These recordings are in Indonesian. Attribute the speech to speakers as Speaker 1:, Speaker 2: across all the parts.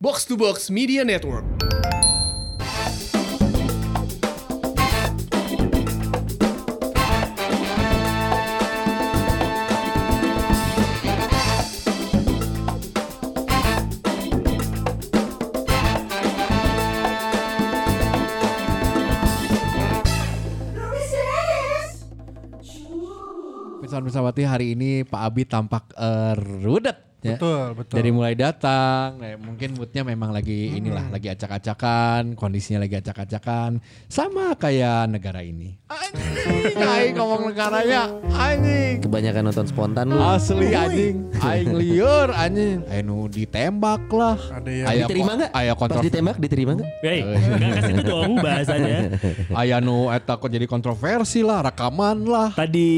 Speaker 1: Box to Box Media Network.
Speaker 2: Pirsawan Pirsawati hari ini Pak Abi tampak eh, rudet ya.
Speaker 3: Betul, betul.
Speaker 2: Dari mulai datang, nah, mungkin moodnya memang lagi inilah,
Speaker 3: Hmm.
Speaker 2: lagi acak-acakan, kondisinya lagi acak-acakan, sama kayak negara ini. Anjing, aing ngomong negaranya, anjing.
Speaker 4: Kebanyakan nonton spontan lu.
Speaker 2: Asli anjing, aing liur anjing. Ayo nu ditembak lah.
Speaker 3: Ada yang-
Speaker 2: Aya
Speaker 4: diterima
Speaker 2: ko-
Speaker 4: nggak?
Speaker 2: Aya kontro
Speaker 4: Pas ditembak diterima nggak?
Speaker 5: Wey,
Speaker 4: iya.
Speaker 5: nggak kasih itu dong bahasanya.
Speaker 2: aya nu eta kok jadi kontroversi lah, rekaman lah.
Speaker 5: Tadi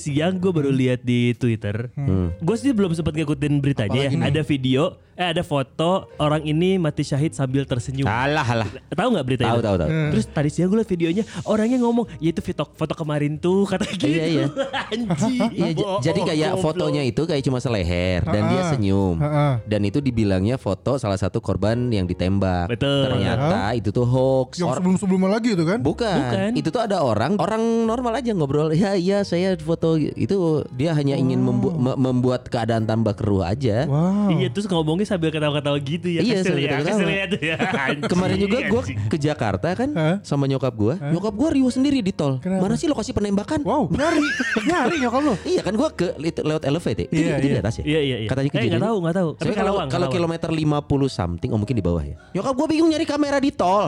Speaker 5: siang gue baru lihat di Twitter.
Speaker 4: Hmm.
Speaker 5: Gue sih belum sempat ngikutin beritanya ya. Ada video, eh ada foto orang ini mati syahid sambil tersenyum.
Speaker 4: Alah alah.
Speaker 5: Tahu nggak beritanya?
Speaker 4: Ah. Tahu tahu tahu.
Speaker 5: Terus tadi siang gue liat videonya orangnya ngomong, ya itu foto, foto kemarin tuh kata gitu.
Speaker 4: Iya, iya.
Speaker 5: Anjing.
Speaker 4: Iya, j- jadi kayak fotonya itu kayak cuma seleher dan dia
Speaker 3: Ha-ha.
Speaker 4: senyum.
Speaker 3: Ha-ha.
Speaker 4: Dan itu dibilangnya foto salah satu korban yang ditembak.
Speaker 5: Betul.
Speaker 4: Ternyata itu tuh hoax.
Speaker 3: Yang
Speaker 4: Or-
Speaker 3: sebelum-sebelumnya lagi itu kan?
Speaker 4: Bukan.
Speaker 5: Bukan.
Speaker 4: Itu tuh ada orang, orang normal aja ngobrol. Ya iya saya foto itu dia hanya ingin membu- me- membuat keadaan tambah keruh aja.
Speaker 3: Wow.
Speaker 5: Iya terus ngomongnya sambil ketawa-ketawa gitu ya.
Speaker 4: Iya, sambil
Speaker 5: kesel ya,
Speaker 4: ketawa-ketawa.
Speaker 5: kesel ya tuh ya. Anjing,
Speaker 4: Kemarin juga gue
Speaker 5: anjing.
Speaker 4: ke Jakarta kan
Speaker 3: Hah?
Speaker 4: sama nyokap gue. Nyokap gue riuh sendiri di tol.
Speaker 3: Kenapa?
Speaker 4: Mana sih lokasi penembakan?
Speaker 3: Wow, nyari. nyari nyokap lu.
Speaker 4: Iya kan gue ke itu lewat elevate ya. Itu
Speaker 3: Iya,
Speaker 4: di- itu di
Speaker 3: iya.
Speaker 4: atas ya.
Speaker 5: Iya iya iya.
Speaker 4: Katanya
Speaker 5: Eh
Speaker 4: kejadian.
Speaker 5: nggak tahu nggak tahu. Tapi
Speaker 4: Soalnya kalau
Speaker 5: Karawang,
Speaker 4: kalau
Speaker 5: Karawang.
Speaker 4: kilometer 50 something oh mungkin di bawah ya. Nyokap gue bingung nyari kamera di tol.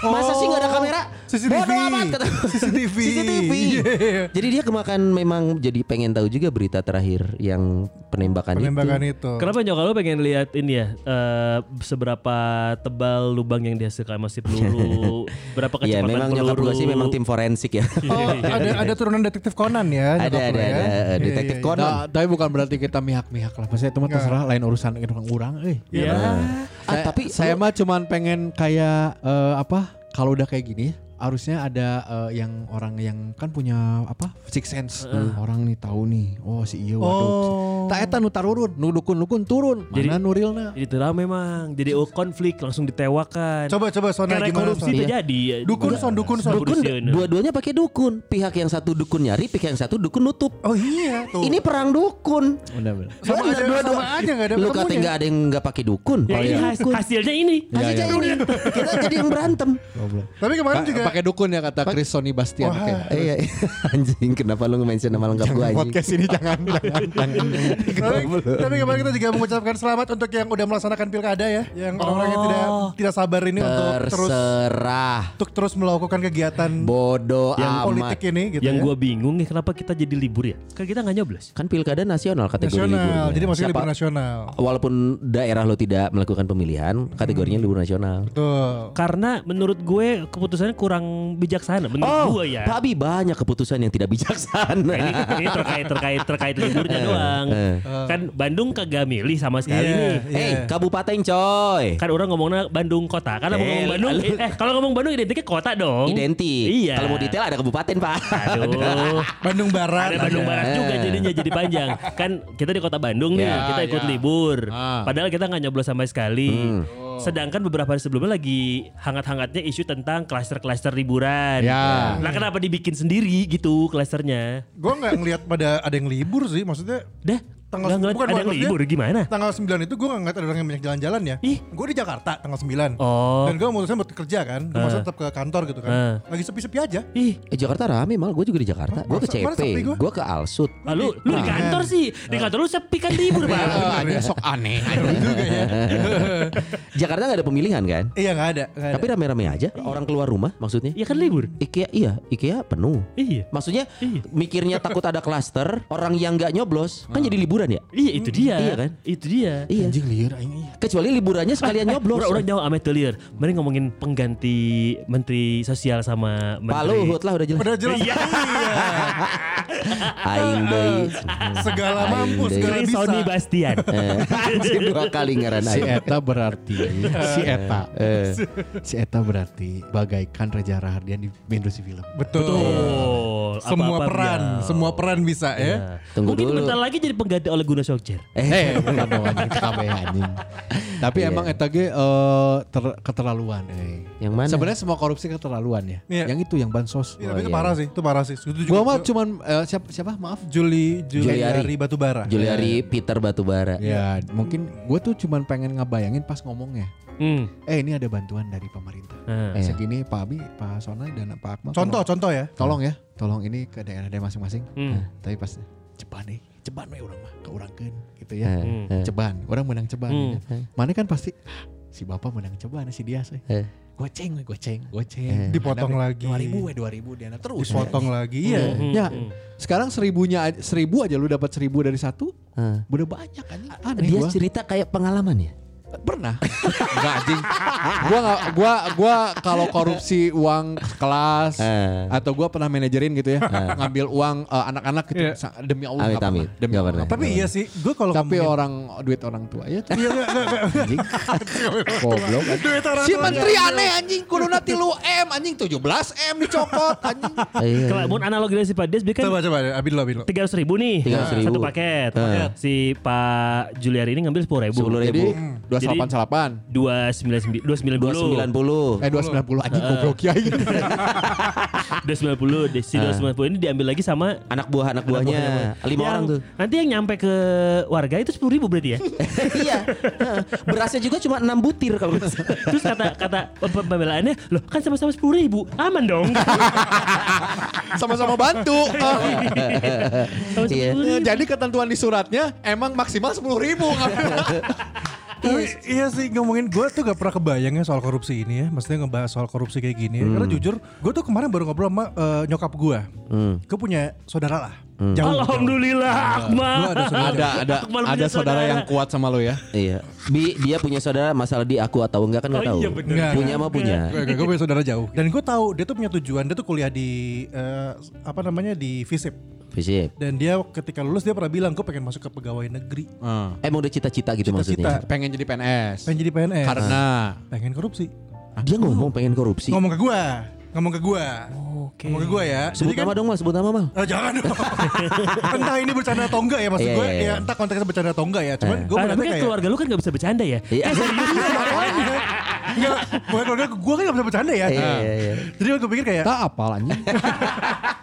Speaker 4: Masa sih nggak ada kamera?
Speaker 3: CCTV.
Speaker 4: Bodoh amat kata.
Speaker 3: CCTV.
Speaker 4: CCTV.
Speaker 3: Iya.
Speaker 4: Jadi dia kemakan memang jadi pengen tahu juga berita terakhir yang penembakan,
Speaker 3: Penembakan
Speaker 4: itu.
Speaker 3: itu.
Speaker 5: Kenapa nyokap lo pengen lihat ini ya eh, seberapa tebal lubang yang dihasilkan masih peluru, berapa
Speaker 4: Iya
Speaker 5: kecepatan
Speaker 4: memang
Speaker 5: peluru?
Speaker 4: nyokap gue sih memang tim forensik ya.
Speaker 3: Oh, ada ada turunan detektif Conan ya.
Speaker 4: ada
Speaker 3: nyokap
Speaker 4: ada
Speaker 3: lu ya.
Speaker 4: ada
Speaker 3: Iya,
Speaker 4: detektif
Speaker 3: iya, iya.
Speaker 4: Conan.
Speaker 2: Nah, tapi bukan berarti kita mihak-mihak lah. Maksudnya itu mah terserah lain urusan orang orang eh.
Speaker 5: Iya.
Speaker 4: Ah,
Speaker 2: Saya-
Speaker 4: tapi
Speaker 2: saya mah cuman pengen kayak eh, apa? Kalau udah kayak gini harusnya ada eh, yang orang yang kan punya apa? Six sense. Nah, Orang nih tahu nih. Oh si iya waduh.
Speaker 3: Oh.
Speaker 2: Tak eta nu tarurun, nu dukun-dukun turun.
Speaker 5: Jadi-
Speaker 2: Mana nurilna?
Speaker 5: Jadi itu memang jadi oh, konflik langsung ditewakan.
Speaker 3: Coba coba Sona
Speaker 5: Karena
Speaker 3: gimana?
Speaker 5: korupsi ya,
Speaker 3: Son? Iya.
Speaker 5: terjadi.
Speaker 3: Dukun, Son, dukun, Son.
Speaker 4: dukun dua-duanya pakai dukun. Pihak yang satu dukun nyari, pihak yang satu dukun nutup.
Speaker 3: Oh iya tuh.
Speaker 4: Ini perang dukun.
Speaker 2: Benar-benar.
Speaker 3: sama
Speaker 4: Bener,
Speaker 3: aja sama aja enggak ada
Speaker 4: Lu
Speaker 3: ketemunya.
Speaker 4: kata nggak ada yang nggak pakai dukun.
Speaker 5: Ya, ini has- hasilnya ini.
Speaker 2: Iya,
Speaker 4: Kasih
Speaker 2: iya.
Speaker 4: aja ini. Kita jadi yang berantem.
Speaker 2: Goblok.
Speaker 3: Tapi kemarin
Speaker 2: Pa-
Speaker 3: juga
Speaker 2: Pakai dukun ya kata Chris Sony Bastian.
Speaker 3: Wah.
Speaker 2: Oke. Eh,
Speaker 4: Eh, iya. anjing kenapa lu nge-mention nama lengkap gua anjing?
Speaker 2: Podcast ini jangan jangan jangan.
Speaker 3: tapi, tapi kemarin kita juga mengucapkan selamat untuk yang udah melaksanakan pilkada ya, yang orang-orang yang tidak tidak sabar ini ya, untuk terus
Speaker 4: Terserah.
Speaker 3: untuk terus melakukan kegiatan
Speaker 4: Bodoh
Speaker 3: politik
Speaker 4: amat.
Speaker 3: ini gitu
Speaker 5: yang
Speaker 3: ya.
Speaker 5: gue bingung nih kenapa kita jadi libur ya? Kan kita nggak nyoblos.
Speaker 4: Kan pilkada nasional kategori
Speaker 3: nasional.
Speaker 4: liburnya.
Speaker 3: Jadi masih
Speaker 4: Siapa-
Speaker 3: libur nasional.
Speaker 4: Walaupun daerah lo tidak melakukan pemilihan, kategorinya libur nasional.
Speaker 3: Betul.
Speaker 5: Karena menurut gue keputusannya kurang bijaksana. Menurut gue ya.
Speaker 4: Pak Abi Oh, banyak keputusan yang tidak bijaksana.
Speaker 5: Ini, ini terkait terkait terkait liburnya
Speaker 4: Eh,
Speaker 5: doang. kan Bandung kagak milih sama sekali
Speaker 3: Iya.
Speaker 5: nih.
Speaker 4: Eh, kabupaten coy.
Speaker 5: Kan orang ngomongnya Bandung kota. Kalau mau
Speaker 4: Eh,
Speaker 5: ngomong Bandung,
Speaker 4: lalu-
Speaker 5: eh kalau ngomong Bandung identiknya kota dong.
Speaker 4: Identik.
Speaker 5: Iya.
Speaker 4: Kalau mau detail ada kabupaten, Pak.
Speaker 5: Aduh.
Speaker 3: Bandung Barat.
Speaker 5: Ada Bandung
Speaker 3: ada.
Speaker 5: Barat juga jadinya jadi panjang. Kan kita di kota Bandung nih,
Speaker 2: Ya,
Speaker 5: kita ikut
Speaker 2: ya.
Speaker 5: libur.
Speaker 2: Ah.
Speaker 5: Padahal kita nggak nyoblos sama
Speaker 4: Hmm.
Speaker 5: sekali. Sedangkan beberapa hari sebelumnya lagi hangat-hangatnya isu tentang klaster-klaster liburan.
Speaker 2: Ya.
Speaker 5: Lah kenapa dibikin sendiri gitu klasternya?
Speaker 3: Gue nggak ngelihat pada ada yang libur sih, maksudnya
Speaker 5: Dah, nggak
Speaker 3: Tanggal-
Speaker 5: ngeliat
Speaker 3: bukan,
Speaker 5: ada yang
Speaker 3: maksudnya-
Speaker 5: libur gimana?
Speaker 3: tanggal 9 itu gue gak ngeliat ada orang yang banyak jalan-jalan ya
Speaker 5: Ih.
Speaker 3: Gue di Jakarta tanggal 9
Speaker 5: Oh. Ah.
Speaker 3: Dan gue mutusin buat kerja kan Gue masuk tetap ke kantor gitu kan
Speaker 5: Eh.
Speaker 3: Lagi sepi-sepi aja
Speaker 5: Ih,
Speaker 4: Eh, Jakarta rame mal, gue juga di Jakarta. Gue ke
Speaker 3: Masa- mana
Speaker 4: CP,
Speaker 3: sepi gua?
Speaker 4: gue ke Alsut.
Speaker 5: lalu lu di kantor sih. Di kantor lu sepi kan libur, Bang.
Speaker 3: Iya.
Speaker 2: Ada sok aneh. anjing.
Speaker 4: Jakarta nggak ada pemilihan kan?
Speaker 3: Iya gak ada, nggak ada.
Speaker 4: Tapi rame-rame aja. Orang keluar rumah maksudnya.
Speaker 5: Ya Iya. kan libur.
Speaker 4: IKEA iya, IKEA penuh.
Speaker 5: Iya.
Speaker 4: Maksudnya
Speaker 5: Iya.
Speaker 4: mikirnya takut ada klaster, orang yang nggak nyoblos kan jadi liburan ya?
Speaker 5: Iya, itu dia.
Speaker 4: Iya kan?
Speaker 5: Itu dia.
Speaker 4: Iya.
Speaker 2: Anjing liar aing.
Speaker 4: Kecuali liburannya sekalian nyoblos.
Speaker 5: Orang-orang jauh amat telir. Mending ngomongin pengganti menteri sosial sama
Speaker 4: Pak
Speaker 5: menteri.
Speaker 4: Luhut lah udah jelas.
Speaker 3: Udah jelas
Speaker 5: Iya.
Speaker 4: Aing deui.
Speaker 3: Segala mampu,
Speaker 4: Aing deui.
Speaker 5: Iya,
Speaker 3: segala
Speaker 5: Chris
Speaker 3: bisa
Speaker 5: Sony Bastian.
Speaker 4: Eh, anjing, dua kali ngaran
Speaker 2: Si
Speaker 4: aing.
Speaker 2: Eta berarti si Eta.
Speaker 4: Eh.
Speaker 2: si Eta berarti bagaikan Reza Rahardian di industri film.
Speaker 3: Betul.
Speaker 5: Betul.
Speaker 3: Semua
Speaker 5: Apa-apa
Speaker 3: peran,
Speaker 5: beliau.
Speaker 3: semua peran bisa ya.
Speaker 5: Nah,
Speaker 4: Tunggu
Speaker 5: Mungkin
Speaker 4: dulu.
Speaker 5: bentar lagi jadi pengganti oleh Guna Sokjer.
Speaker 2: Eh, bukan dong anjing, kabeh anjing. Tapi emang Eta ge eh, ter- keterlaluan. eh.
Speaker 4: Iya. Yang mana?
Speaker 2: Sebenarnya semua korupsi keterlaluan ya.
Speaker 3: Iya.
Speaker 2: Yang itu yang bansos.
Speaker 3: Iya, tapi itu parah sih, itu parah sih. Itu juga
Speaker 2: Gua mah cuman eh, siapa, siapa maaf.
Speaker 3: Juli Juli
Speaker 4: Juliari.
Speaker 3: dari Batubara.
Speaker 4: Juliari Peter Batubara.
Speaker 3: Iya.
Speaker 2: Ya mungkin gue tuh cuman pengen ngebayangin pas ngomongnya.
Speaker 5: Hmm.
Speaker 2: Eh ini ada bantuan dari pemerintah.
Speaker 5: Nah.
Speaker 4: Iya.
Speaker 2: Segini Pak Abi, Pak Sona dan Pak Akmal.
Speaker 3: Contoh, contoh ya.
Speaker 2: tolong ya tolong ini ke daerah-daerah masing-masing Nah,
Speaker 5: Hmm.
Speaker 2: tapi pas ceban nih ceban we orang mah ke orang gitu ya
Speaker 4: Hmm.
Speaker 2: Hmm. ceban orang menang ceban
Speaker 5: Hmm.
Speaker 2: ya. mana kan pasti "Ah, si bapak menang ceban si dia sih
Speaker 4: Eh.
Speaker 2: goceng we goceng
Speaker 4: Hmm.
Speaker 2: goceng
Speaker 3: Dipotong lagi.
Speaker 2: dua ribu we dua ribu dia terus
Speaker 3: Dipotong lagi. Iya.
Speaker 5: Hmm.
Speaker 2: ya sekarang seribunya a- seribu aja lu dapat seribu dari satu
Speaker 4: Hmm.
Speaker 2: udah banyak kan aneh gua.
Speaker 4: Dia cerita kayak pengalaman ya.
Speaker 2: Pernah. Enggak anjing. Gua nggak- gua gua kalau korupsi uang kelas
Speaker 4: Eh.
Speaker 2: atau gua pernah manajerin gitu ya, ngambil uang eh, anak-anak gitu
Speaker 3: Iya.
Speaker 2: sa- demi Allah
Speaker 4: Amit,
Speaker 2: nggak pernah.
Speaker 4: amit.
Speaker 2: Demi
Speaker 4: Nggak
Speaker 2: Allah.
Speaker 4: pernah.
Speaker 3: Tapi iya sih, gue kalau
Speaker 2: Tapi
Speaker 3: ngomongin-
Speaker 2: orang duit orang tua ya
Speaker 3: Iya, enggak, enggak, enggak.
Speaker 2: anjing. Goblok.
Speaker 3: Duit orang
Speaker 2: Si
Speaker 3: tua.
Speaker 2: menteri aneh anjing kuduna tilu M anjing 17 M dicokot anjing.
Speaker 4: Iya.
Speaker 5: Kelamun analog dari si Pak Des, dia kan
Speaker 3: Eh. Coba coba, Abid lo, Abid lo.
Speaker 5: tiga ratus ribu nih
Speaker 4: 300.000.
Speaker 5: satu paket.
Speaker 4: Ah.
Speaker 5: Si Pak Juliari ini ngambil sepuluh ribu.
Speaker 4: 10.000.
Speaker 2: Jadi 288
Speaker 5: dua sembilan dua sembilan
Speaker 4: Dua sembilan puluh.
Speaker 2: Eh 290 anjing goblok ya.
Speaker 5: dua sembilan puluh. Si
Speaker 4: Eh.
Speaker 5: dua sembilan puluh ini diambil lagi sama
Speaker 4: Anak buah anak buahnya lima
Speaker 5: yang-
Speaker 4: orang tuh.
Speaker 5: Nanti yang nyampe ke warga itu sepuluh ribu berarti ya.
Speaker 4: iya. Heeh. Berasnya juga cuma enam butir kalau nggak salah.
Speaker 5: Terus kata kata pem- pembelaannya, loh kan sama-sama sepuluh ribu, aman dong.
Speaker 2: Sama-sama bantu. Ah.
Speaker 5: Sama-sama
Speaker 4: Iya.
Speaker 2: Eh,
Speaker 5: 10.000.
Speaker 2: Jadi ketentuan di suratnya emang maksimal 10.000 ribu.
Speaker 3: Tapi iya sih ngomongin gue tuh gak pernah kebayangnya soal korupsi ini ya Maksudnya ngebahas soal korupsi kayak gini ya Karena jujur gue tuh kemarin baru ngobrol sama eh, nyokap gue Gue punya saudara lah Jauh, Iya.
Speaker 5: Alhamdulillah, Akmal.
Speaker 3: Gua ada saudara.
Speaker 2: ada ada
Speaker 5: Akmal punya
Speaker 2: ada saudara yang kuat sama lo ya.
Speaker 4: Iya. Bi- dia punya saudara masalah di aku atau enggak kan enggak
Speaker 5: Oh
Speaker 4: tahu.
Speaker 5: iya, bener.
Speaker 3: Enggak,
Speaker 4: punya
Speaker 3: enggak.
Speaker 4: mah punya.
Speaker 3: Gue punya saudara jauh Dan gue tahu dia tuh punya tujuan Dia tuh kuliah di eh, Apa namanya di FISIP
Speaker 4: Fisip.
Speaker 3: Dan dia ketika lulus dia pernah bilang Gue pengen masuk ke pegawai negeri
Speaker 4: Emang udah cita-cita gitu maksudnya.
Speaker 2: Ah.
Speaker 3: Cita-cita
Speaker 2: Pengen jadi PNS.
Speaker 3: Pengen jadi PNS
Speaker 2: Karena
Speaker 3: Pengen korupsi
Speaker 4: Dia ngomong pengen korupsi.
Speaker 3: Ngomong ke gue Ngomong ke gue Ngomong ke gue ya
Speaker 4: Sebut
Speaker 3: Jadi kan-
Speaker 4: nama dong mal, sebut nama mal.
Speaker 3: Eh, jangan dong. entah ini bercanda atau enggak ya maksud
Speaker 4: Iya,
Speaker 3: gue.
Speaker 4: iya, iya.
Speaker 3: Ya entah konteksnya bercanda atau enggak ya. Cuman gue
Speaker 5: Ah,
Speaker 3: berarti
Speaker 5: tapi kan
Speaker 3: kayak
Speaker 5: keluarga lu kan gak bisa bercanda ya.
Speaker 4: Iya.
Speaker 3: Makanya. Enggak, bukan keluarga gue kan gak bisa bercanda ya.
Speaker 4: Iya, iya, iya.
Speaker 3: Jadi gue pikir kayak,
Speaker 2: tak apal anjing.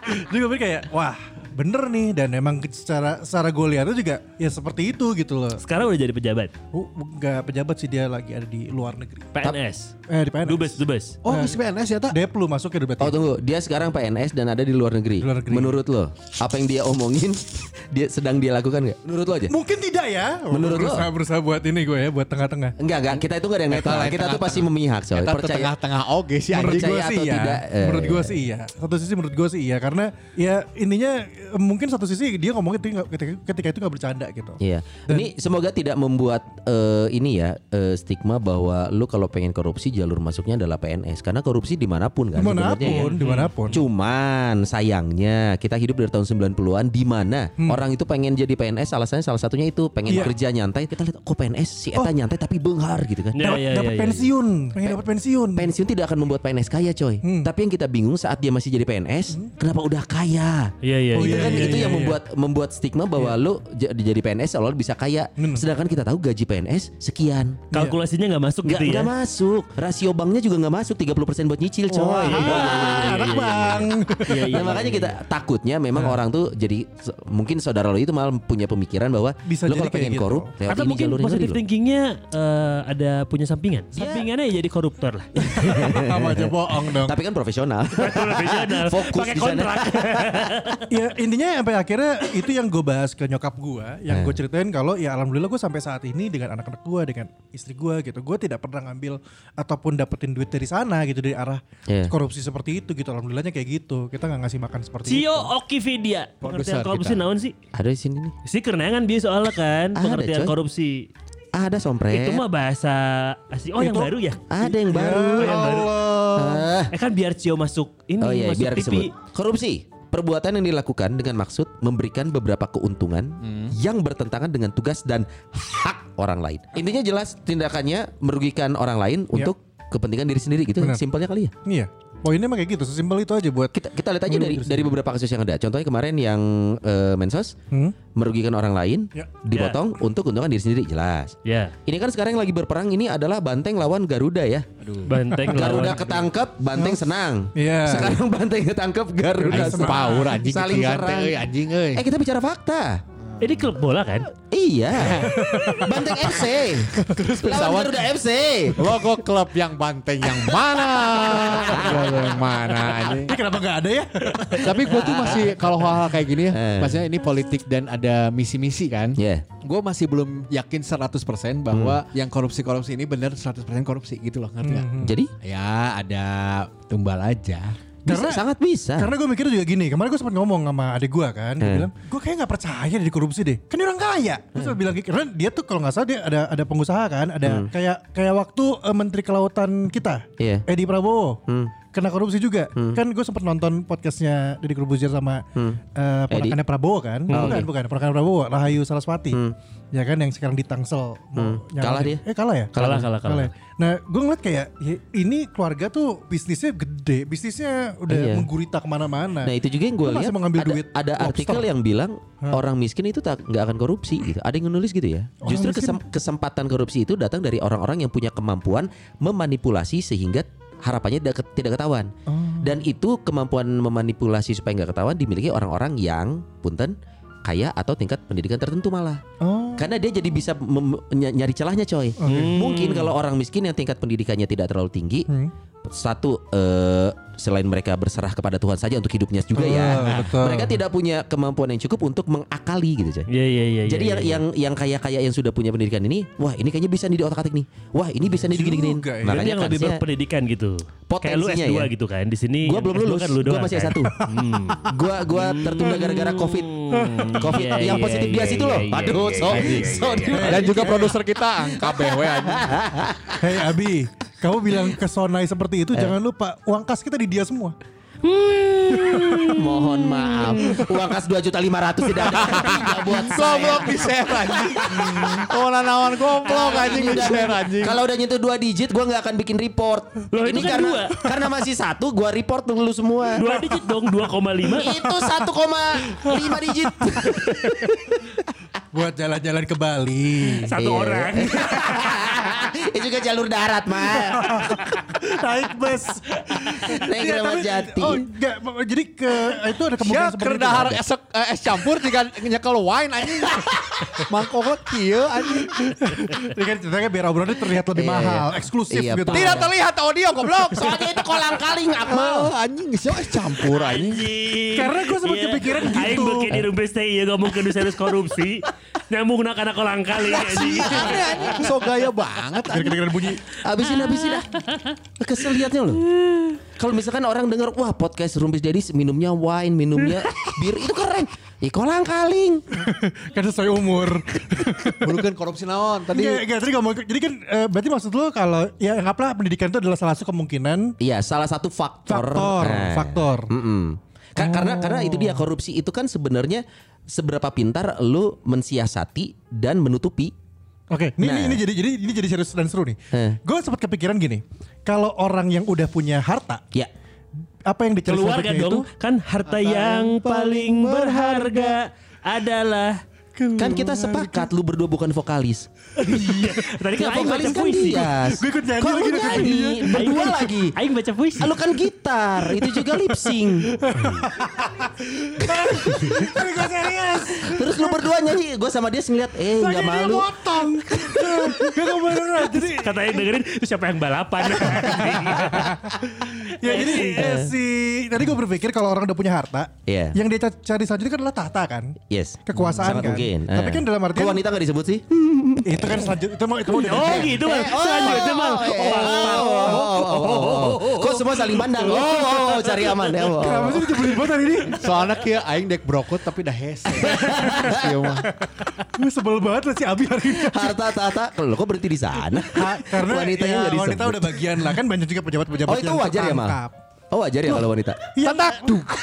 Speaker 3: jadi gue pikir kayak, wah bener nih dan emang secara secara gue lihat tuh juga ya seperti itu gitu loh.
Speaker 5: Sekarang udah jadi pejabat.
Speaker 3: Oh, Enggak pejabat sih dia lagi ada di luar negeri.
Speaker 5: PNS.
Speaker 3: Eh di PNS.
Speaker 5: Dubes, dubes.
Speaker 2: Oh, masih PNS ya, tak?
Speaker 3: Deplu masuk ya berarti.
Speaker 4: Oh tunggu, dia sekarang PNS dan ada di luar negeri.
Speaker 3: Di luar negeri.
Speaker 4: Menurut lo, apa yang dia omongin, dia sedang dia lakukan nggak? Menurut lo aja?
Speaker 3: Mungkin tidak ya.
Speaker 4: Menurut lo?
Speaker 3: berusaha, berusaha buat ini gue ya, buat tengah-tengah.
Speaker 4: Enggak, enggak. Kita itu enggak ada yang netral.
Speaker 2: Netral,
Speaker 4: Kita tuh
Speaker 2: tengah-tengah.
Speaker 4: pasti memihak soalnya.
Speaker 2: Kita
Speaker 4: Percaya.
Speaker 2: tengah-tengah oge sih
Speaker 3: menurut
Speaker 2: anjing.
Speaker 4: percaya
Speaker 3: gue sih
Speaker 4: atau
Speaker 3: iya.
Speaker 4: tidak, eh,
Speaker 3: menurut gue
Speaker 4: iya.
Speaker 3: sih iya. Satu sisi menurut gue sih iya karena ya intinya eh, mungkin satu sisi dia ngomongnya itu nggak- ketika, ketika itu nggak bercanda gitu.
Speaker 4: Iya. Ini semoga tidak membuat eh, ini ya eh, stigma bahwa lu kalau pengen korupsi jalur masuknya adalah PNS karena korupsi dimanapun kan. sebenarnya ya.
Speaker 3: Dimanapun, dimanapun.
Speaker 4: Cuman sayangnya kita hidup dari tahun 90-an di mana orang itu pengen jadi PNS alasannya salah satunya itu pengen
Speaker 3: Hmm. Iya. Oh.
Speaker 4: kerja nyantai. Kita lihat kok PNS si eta nyantai tapi benghar gitu kan.
Speaker 5: Ya,
Speaker 3: Dapat
Speaker 5: ya,
Speaker 3: dapat
Speaker 5: ya, ya.
Speaker 3: pensiun, pengen dapat pensiun.
Speaker 4: Pensiun tidak akan membuat PNS kaya coy.
Speaker 5: Hmm.
Speaker 4: Tapi yang kita bingung saat dia masih jadi PNS, kenapa udah kaya?
Speaker 5: Iya, iya,
Speaker 3: Oh,
Speaker 4: itu
Speaker 5: Hmm. iya,
Speaker 4: kan
Speaker 5: iya,
Speaker 4: itu
Speaker 5: iya,
Speaker 4: yang
Speaker 5: iya.
Speaker 4: membuat membuat stigma bahwa lu j- jadi PNS seolah bisa kaya. Sedangkan kita tahu gaji PNS sekian.
Speaker 5: Kalkulasinya nggak masuk
Speaker 4: Nggak,
Speaker 5: gitu ya.
Speaker 4: nggak masuk. Rasio banknya juga nggak masuk 30% buat nyicil coy.
Speaker 5: Oh,
Speaker 3: Ah, anak
Speaker 4: iya,
Speaker 3: bang.
Speaker 5: Iya, iya,
Speaker 4: Nah, makanya
Speaker 5: iya, Nah.
Speaker 4: kita takutnya memang orang tuh jadi se- mungkin saudara lo itu malah punya pemikiran bahwa
Speaker 3: Bisa
Speaker 4: lo
Speaker 3: jadi
Speaker 4: kalau
Speaker 3: kayak
Speaker 4: pengen
Speaker 3: gitu.
Speaker 4: korup lewat
Speaker 5: Atau
Speaker 4: ini
Speaker 5: mungkin
Speaker 4: jalurnya
Speaker 5: positive
Speaker 4: tadi lo.
Speaker 5: thinkingnya eh, ada punya sampingan.
Speaker 4: Iya.
Speaker 5: Sampingannya ya jadi koruptor lah.
Speaker 3: Sama aja bohong dong.
Speaker 4: Tapi kan profesional.
Speaker 5: Profesional.
Speaker 4: Fokus
Speaker 5: Pakai
Speaker 4: di sana.
Speaker 5: kontrak.
Speaker 3: ya intinya sampai akhirnya itu yang gue bahas ke nyokap gue yang
Speaker 4: Eh.
Speaker 3: gue ceritain kalau ya alhamdulillah gue sampai saat ini dengan anak-anak gue dengan istri gue gitu gue tidak pernah ngambil ataupun dapetin duit dari sana gitu dari arah
Speaker 4: Iya.
Speaker 3: korupsi seperti itu gitu alhamdulillahnya kayak gitu kita nggak ngasih makan seperti itu
Speaker 4: Gitu.
Speaker 5: Cio Okividia.
Speaker 2: Produser
Speaker 5: Pengertian korupsi
Speaker 2: kita.
Speaker 5: naon sih?
Speaker 4: Ada di sini nih.
Speaker 5: Si kerenangan dia soalnya kan
Speaker 4: Ada,
Speaker 5: pengertian
Speaker 4: coy.
Speaker 5: korupsi.
Speaker 4: Ah, ada sompret.
Speaker 5: Itu mah bahasa asli. Oh yang
Speaker 3: Itu-
Speaker 5: baru ya?
Speaker 4: Ada yang baru.
Speaker 5: Oh, yang baru. Eh kan biar Cio masuk ini
Speaker 4: Ah. Oh iya,
Speaker 5: masuk
Speaker 4: biar
Speaker 5: TV.
Speaker 4: disebut. Korupsi. Perbuatan yang dilakukan dengan maksud memberikan beberapa keuntungan
Speaker 3: Hmm.
Speaker 4: yang bertentangan dengan tugas dan hak orang lain. Intinya jelas tindakannya merugikan orang lain untuk kepentingan diri sendiri gitu.
Speaker 3: Iya. Benar.
Speaker 4: Simpelnya kali ya.
Speaker 3: Iya. Poinnya emang kayak gitu, sesimpel itu aja buat
Speaker 4: Kita kita lihat aja dari dari beberapa kasus yang ada. Contohnya kemarin yang eh, mensos
Speaker 3: Hmm.
Speaker 4: merugikan orang lain
Speaker 3: Ya.
Speaker 4: dipotong untuk keuntungan diri sendiri jelas.
Speaker 5: Ya,
Speaker 4: Ini kan sekarang yang lagi berperang ini adalah banteng lawan Garuda ya.
Speaker 5: banteng
Speaker 4: Garuda
Speaker 5: lawan.
Speaker 4: ketangkep, banteng senang.
Speaker 3: Iya.
Speaker 4: Sekarang banteng ketangkep, Garuda
Speaker 2: Aing
Speaker 4: senang.
Speaker 2: sepaur anjing
Speaker 4: Saling
Speaker 2: ketiga
Speaker 4: serang.
Speaker 3: ya.
Speaker 2: teh, anjing euy.
Speaker 4: Eh kita bicara fakta.
Speaker 5: Ini klub bola kan?
Speaker 4: Iya. Banteng FC. Lawan Garuda FC.
Speaker 2: Logo klub yang banteng yang mana? Logo yang mana anjing?
Speaker 3: Ini kenapa gak ada ya?
Speaker 2: Tapi gue tuh masih kalau hal-hal kayak gini ya,
Speaker 4: Eh.
Speaker 2: maksudnya ini politik dan ada misi-misi kan.
Speaker 3: Iya.
Speaker 4: Ya.
Speaker 2: Gue masih belum yakin 100% bahwa yang korupsi-korupsi ini benar 100% korupsi gitu loh, ngerti nggak?
Speaker 4: Jadi
Speaker 2: Ya ada tumbal aja.
Speaker 4: bisa,
Speaker 3: Karena-
Speaker 4: sangat bisa.
Speaker 3: Karena gue mikir juga gini, kemarin gue sempat ngomong sama adik gue kan, dia
Speaker 4: Hmm.
Speaker 3: bilang, gue kayak nggak percaya dia korupsi deh, kan dia orang kaya. Terus gue bilang, kayak- karena dia tuh kalau nggak salah dia ada ada pengusaha kan, ada kayak kayak waktu eh, Menteri Kelautan kita,
Speaker 4: Hmm. Iya. Hmm.
Speaker 3: Edi Prabowo, kena korupsi juga. Kan gue sempat nonton podcastnya Deddy Corbuzier sama
Speaker 4: Hmm.
Speaker 3: eh, ponakannya Prabowo kan, bukan
Speaker 4: oke.
Speaker 3: bukan ponakan Prabowo, Rahayu Saraswati, ya kan yang sekarang di Tangsel. mau nyalonin.
Speaker 4: Hmm. Kalah dia?
Speaker 3: Eh kalah ya?
Speaker 5: Kalah, kalah, kalah.
Speaker 3: ya. Nah, gue ngeliat kayak ya, ini keluarga tuh bisnisnya gede, bisnisnya udah
Speaker 4: Iya.
Speaker 3: menggurita
Speaker 4: Nah
Speaker 3: kemana-mana.
Speaker 4: itu juga yang gue
Speaker 3: Lu masih
Speaker 4: lihat
Speaker 3: mau ngambil
Speaker 4: ada,
Speaker 3: duit
Speaker 4: ada
Speaker 3: lobster?
Speaker 4: artikel ya. yang bilang orang miskin itu tak nggak akan korupsi gitu. Ada yang nulis gitu ya.
Speaker 3: Orang
Speaker 4: Justru
Speaker 3: miskin.
Speaker 4: kesem- kesempatan korupsi itu datang dari orang-orang yang punya kemampuan memanipulasi sehingga harapannya tidak ke- tidak ketahuan.
Speaker 3: Oh.
Speaker 4: Dan itu kemampuan memanipulasi supaya nggak ketahuan dimiliki orang-orang yang punten kaya atau tingkat pendidikan tertentu malah.
Speaker 3: Oh. Hmm.
Speaker 4: Karena dia jadi bisa mem- ny- nyari celahnya coy. Mungkin kalau orang miskin yang tingkat pendidikannya tidak terlalu tinggi, satu eh, selain mereka berserah kepada Tuhan saja untuk hidupnya juga ya.
Speaker 3: Ah, betul.
Speaker 4: Mereka tidak punya kemampuan yang cukup untuk mengakali gitu coy.
Speaker 5: Iya, iya, iya.
Speaker 4: Jadi
Speaker 5: iya,
Speaker 4: yang
Speaker 5: iya.
Speaker 4: yang yang kaya-kaya yang sudah punya pendidikan ini, wah ini kayaknya bisa nih diotak-atik nih. Wah, ini bisa nih digini-giniin.
Speaker 3: Juga ya.
Speaker 5: Jadi
Speaker 4: Makanya
Speaker 5: yang lebih
Speaker 4: kansnya-
Speaker 5: berpendidikan gitu. Kayak lu
Speaker 4: Potensinya
Speaker 5: S2
Speaker 4: ya.
Speaker 5: gitu kan. Di sini
Speaker 4: Gua
Speaker 5: yang
Speaker 4: belum
Speaker 5: S2
Speaker 4: lulus.
Speaker 5: kan lu
Speaker 4: Gua
Speaker 5: doang
Speaker 4: masih
Speaker 5: kan? Hmm.
Speaker 4: S1. gua gua tertunda gara-gara Covid. Covid
Speaker 5: Iya,
Speaker 4: yang
Speaker 5: iya,
Speaker 4: positif
Speaker 5: iya,
Speaker 4: bias itu
Speaker 5: iya,
Speaker 4: loh.
Speaker 5: iya,
Speaker 4: Aduh,
Speaker 5: iya,
Speaker 4: so,
Speaker 5: iya, iya,
Speaker 4: so
Speaker 5: iya,
Speaker 4: di-
Speaker 2: Dan juga produser kita angka BW anjing.
Speaker 3: Hei Abi, kamu bilang ke Sonai seperti itu
Speaker 4: Eh.
Speaker 3: jangan lupa uang kas kita di dia semua.
Speaker 4: Mohon maaf. Uang kas 2 juta 500 tidak ada artinya buat saya.
Speaker 2: Goblok di share anjing. Kawan-kawan Hmm. goblok anjing di share anjing.
Speaker 4: Kalau udah nyentuh dua digit gua nggak akan bikin report.
Speaker 5: Loh,
Speaker 4: ini
Speaker 5: itu kan
Speaker 4: karena
Speaker 5: dua.
Speaker 4: karena masih satu gua report dulu semua.
Speaker 5: Dua digit dong 2,5
Speaker 4: Itu 1,5 digit.
Speaker 3: Buat jalan-jalan ke Bali.
Speaker 5: satu
Speaker 4: Iya.
Speaker 5: orang.
Speaker 4: Itu juga jalur darat, mah.
Speaker 3: Naik bus.
Speaker 4: Naik
Speaker 3: Iya,
Speaker 4: lewat
Speaker 3: tapi-
Speaker 4: jati.
Speaker 3: Oh, enggak. Jadi ke itu ada
Speaker 2: Ya
Speaker 3: kemungkinan seperti itu.
Speaker 2: kerdahar esek eh, es campur tiga nyekel wine anjing. Mangkok kieu anjing.
Speaker 3: Ini kan ceritanya biar obrolannya terlihat lebih
Speaker 4: Iya,
Speaker 3: mahal,
Speaker 4: iya.
Speaker 3: eksklusif
Speaker 4: Iya,
Speaker 3: gitu.
Speaker 4: Pak.
Speaker 2: Tidak terlihat audio goblok.
Speaker 4: Soalnya itu kolang kaling
Speaker 2: Oh,
Speaker 4: Akmal.
Speaker 2: anjing siapa es campur anjing.
Speaker 3: Karena gua sempat
Speaker 4: Iya.
Speaker 3: kepikiran
Speaker 5: Aing
Speaker 3: gitu.
Speaker 5: beuki di rumpis teh ieu ngomong ke serius korupsi. Nyambung nak anak kolang kali anjing.
Speaker 2: Aneh anjing so gaya banget
Speaker 3: Biar
Speaker 2: anjing.
Speaker 3: kedengeran bunyi.
Speaker 4: Habisin habisin ah. Kesel liatnya loh. Kalau misalkan orang dengar wah podcast Rumpis Dadis minumnya wine, minumnya bir itu keren. Ih kolang kaling.
Speaker 3: Kan sesuai umur.
Speaker 2: Bukan korupsi naon
Speaker 3: Tadi
Speaker 2: tadi.
Speaker 3: tadi ngomong jadi kan eh, berarti maksud lo kalau ya anggaplah pendidikan itu adalah salah satu kemungkinan
Speaker 4: Iya, salah satu faktor.
Speaker 3: faktor,
Speaker 4: Nah.
Speaker 3: faktor. Oh.
Speaker 4: Mm-mm. Ka- Karena karena itu dia korupsi itu kan sebenarnya seberapa pintar lu mensiasati dan menutupi.
Speaker 3: Oke, ini, ini
Speaker 4: Nah.
Speaker 3: ini jadi jadi ini jadi serius dan seru nih.
Speaker 4: Eh.
Speaker 3: Gue sempat kepikiran gini, kalau orang yang udah punya harta,
Speaker 4: Ya.
Speaker 3: apa yang dicari
Speaker 5: Keluarga
Speaker 3: selanjutnya
Speaker 5: dong. Kan harta yang paling berharga adalah
Speaker 4: Kan
Speaker 3: Hmm.
Speaker 4: kita sepakat lu berdua bukan vokalis.
Speaker 5: Iya.
Speaker 3: Eh,
Speaker 5: Tadi kan
Speaker 4: Ya,
Speaker 5: Aing baca
Speaker 4: vokalis kan
Speaker 5: puisi. Kan
Speaker 4: dia.
Speaker 3: Gua ikut nyanyi
Speaker 4: Kok
Speaker 3: lagi
Speaker 4: lu
Speaker 3: dong,
Speaker 4: nyanyi? Berdua
Speaker 5: Aing-
Speaker 4: lagi.
Speaker 5: Aing baca puisi.
Speaker 4: Ah, Lu kan gitar, itu juga lip sync.
Speaker 3: Gua serius.
Speaker 4: Terus lu berdua nyanyi, gue sama dia ngeliat, eh
Speaker 3: Lagi
Speaker 4: nggak
Speaker 3: dia
Speaker 4: malu.
Speaker 3: Potong. Gak kebenaran. Jadi
Speaker 5: Kata Aing dengerin itu siapa yang balapan.
Speaker 3: ya jadi eh, si tadi gue berpikir kalau orang udah punya harta,
Speaker 4: Iya.
Speaker 3: yang dia ca- cari selanjutnya kan adalah tahta kan.
Speaker 4: Yes.
Speaker 3: Kekuasaan
Speaker 4: Sangat
Speaker 3: kan.
Speaker 4: mungkin.
Speaker 3: Tapi
Speaker 4: eh.
Speaker 3: kan dalam
Speaker 4: Kok
Speaker 3: artian
Speaker 4: wanita gak disebut sih?
Speaker 3: itu kan selanjutnya itu mau itu mau
Speaker 5: Oh gitu
Speaker 4: Eh,
Speaker 5: Bang. Selanjutnya
Speaker 4: oh,
Speaker 3: Oh,
Speaker 5: Bang.
Speaker 4: Kok semua saling pandang? Oh, oh, oh, cari aman ya. oh, oh.
Speaker 3: Kenapa sih dijebelin banget hari ini?
Speaker 2: Soalnya kieu aing dek brokot tapi dah hese. Kieu mah.
Speaker 3: Gue sebel banget lah si Abi hari ini.
Speaker 4: Harta tata, kalau kok berhenti di sana?
Speaker 3: Ha, karena
Speaker 4: wanitanya
Speaker 3: ya,
Speaker 4: nggak disebut.
Speaker 3: wanita udah bagian lah kan banyak juga pejabat-pejabat
Speaker 4: Oh itu
Speaker 3: yang
Speaker 4: wajar ya mal?
Speaker 3: tertangkap.
Speaker 4: Oh wajar ya kalau wanita.
Speaker 2: Tatak. Duh.
Speaker 3: Ini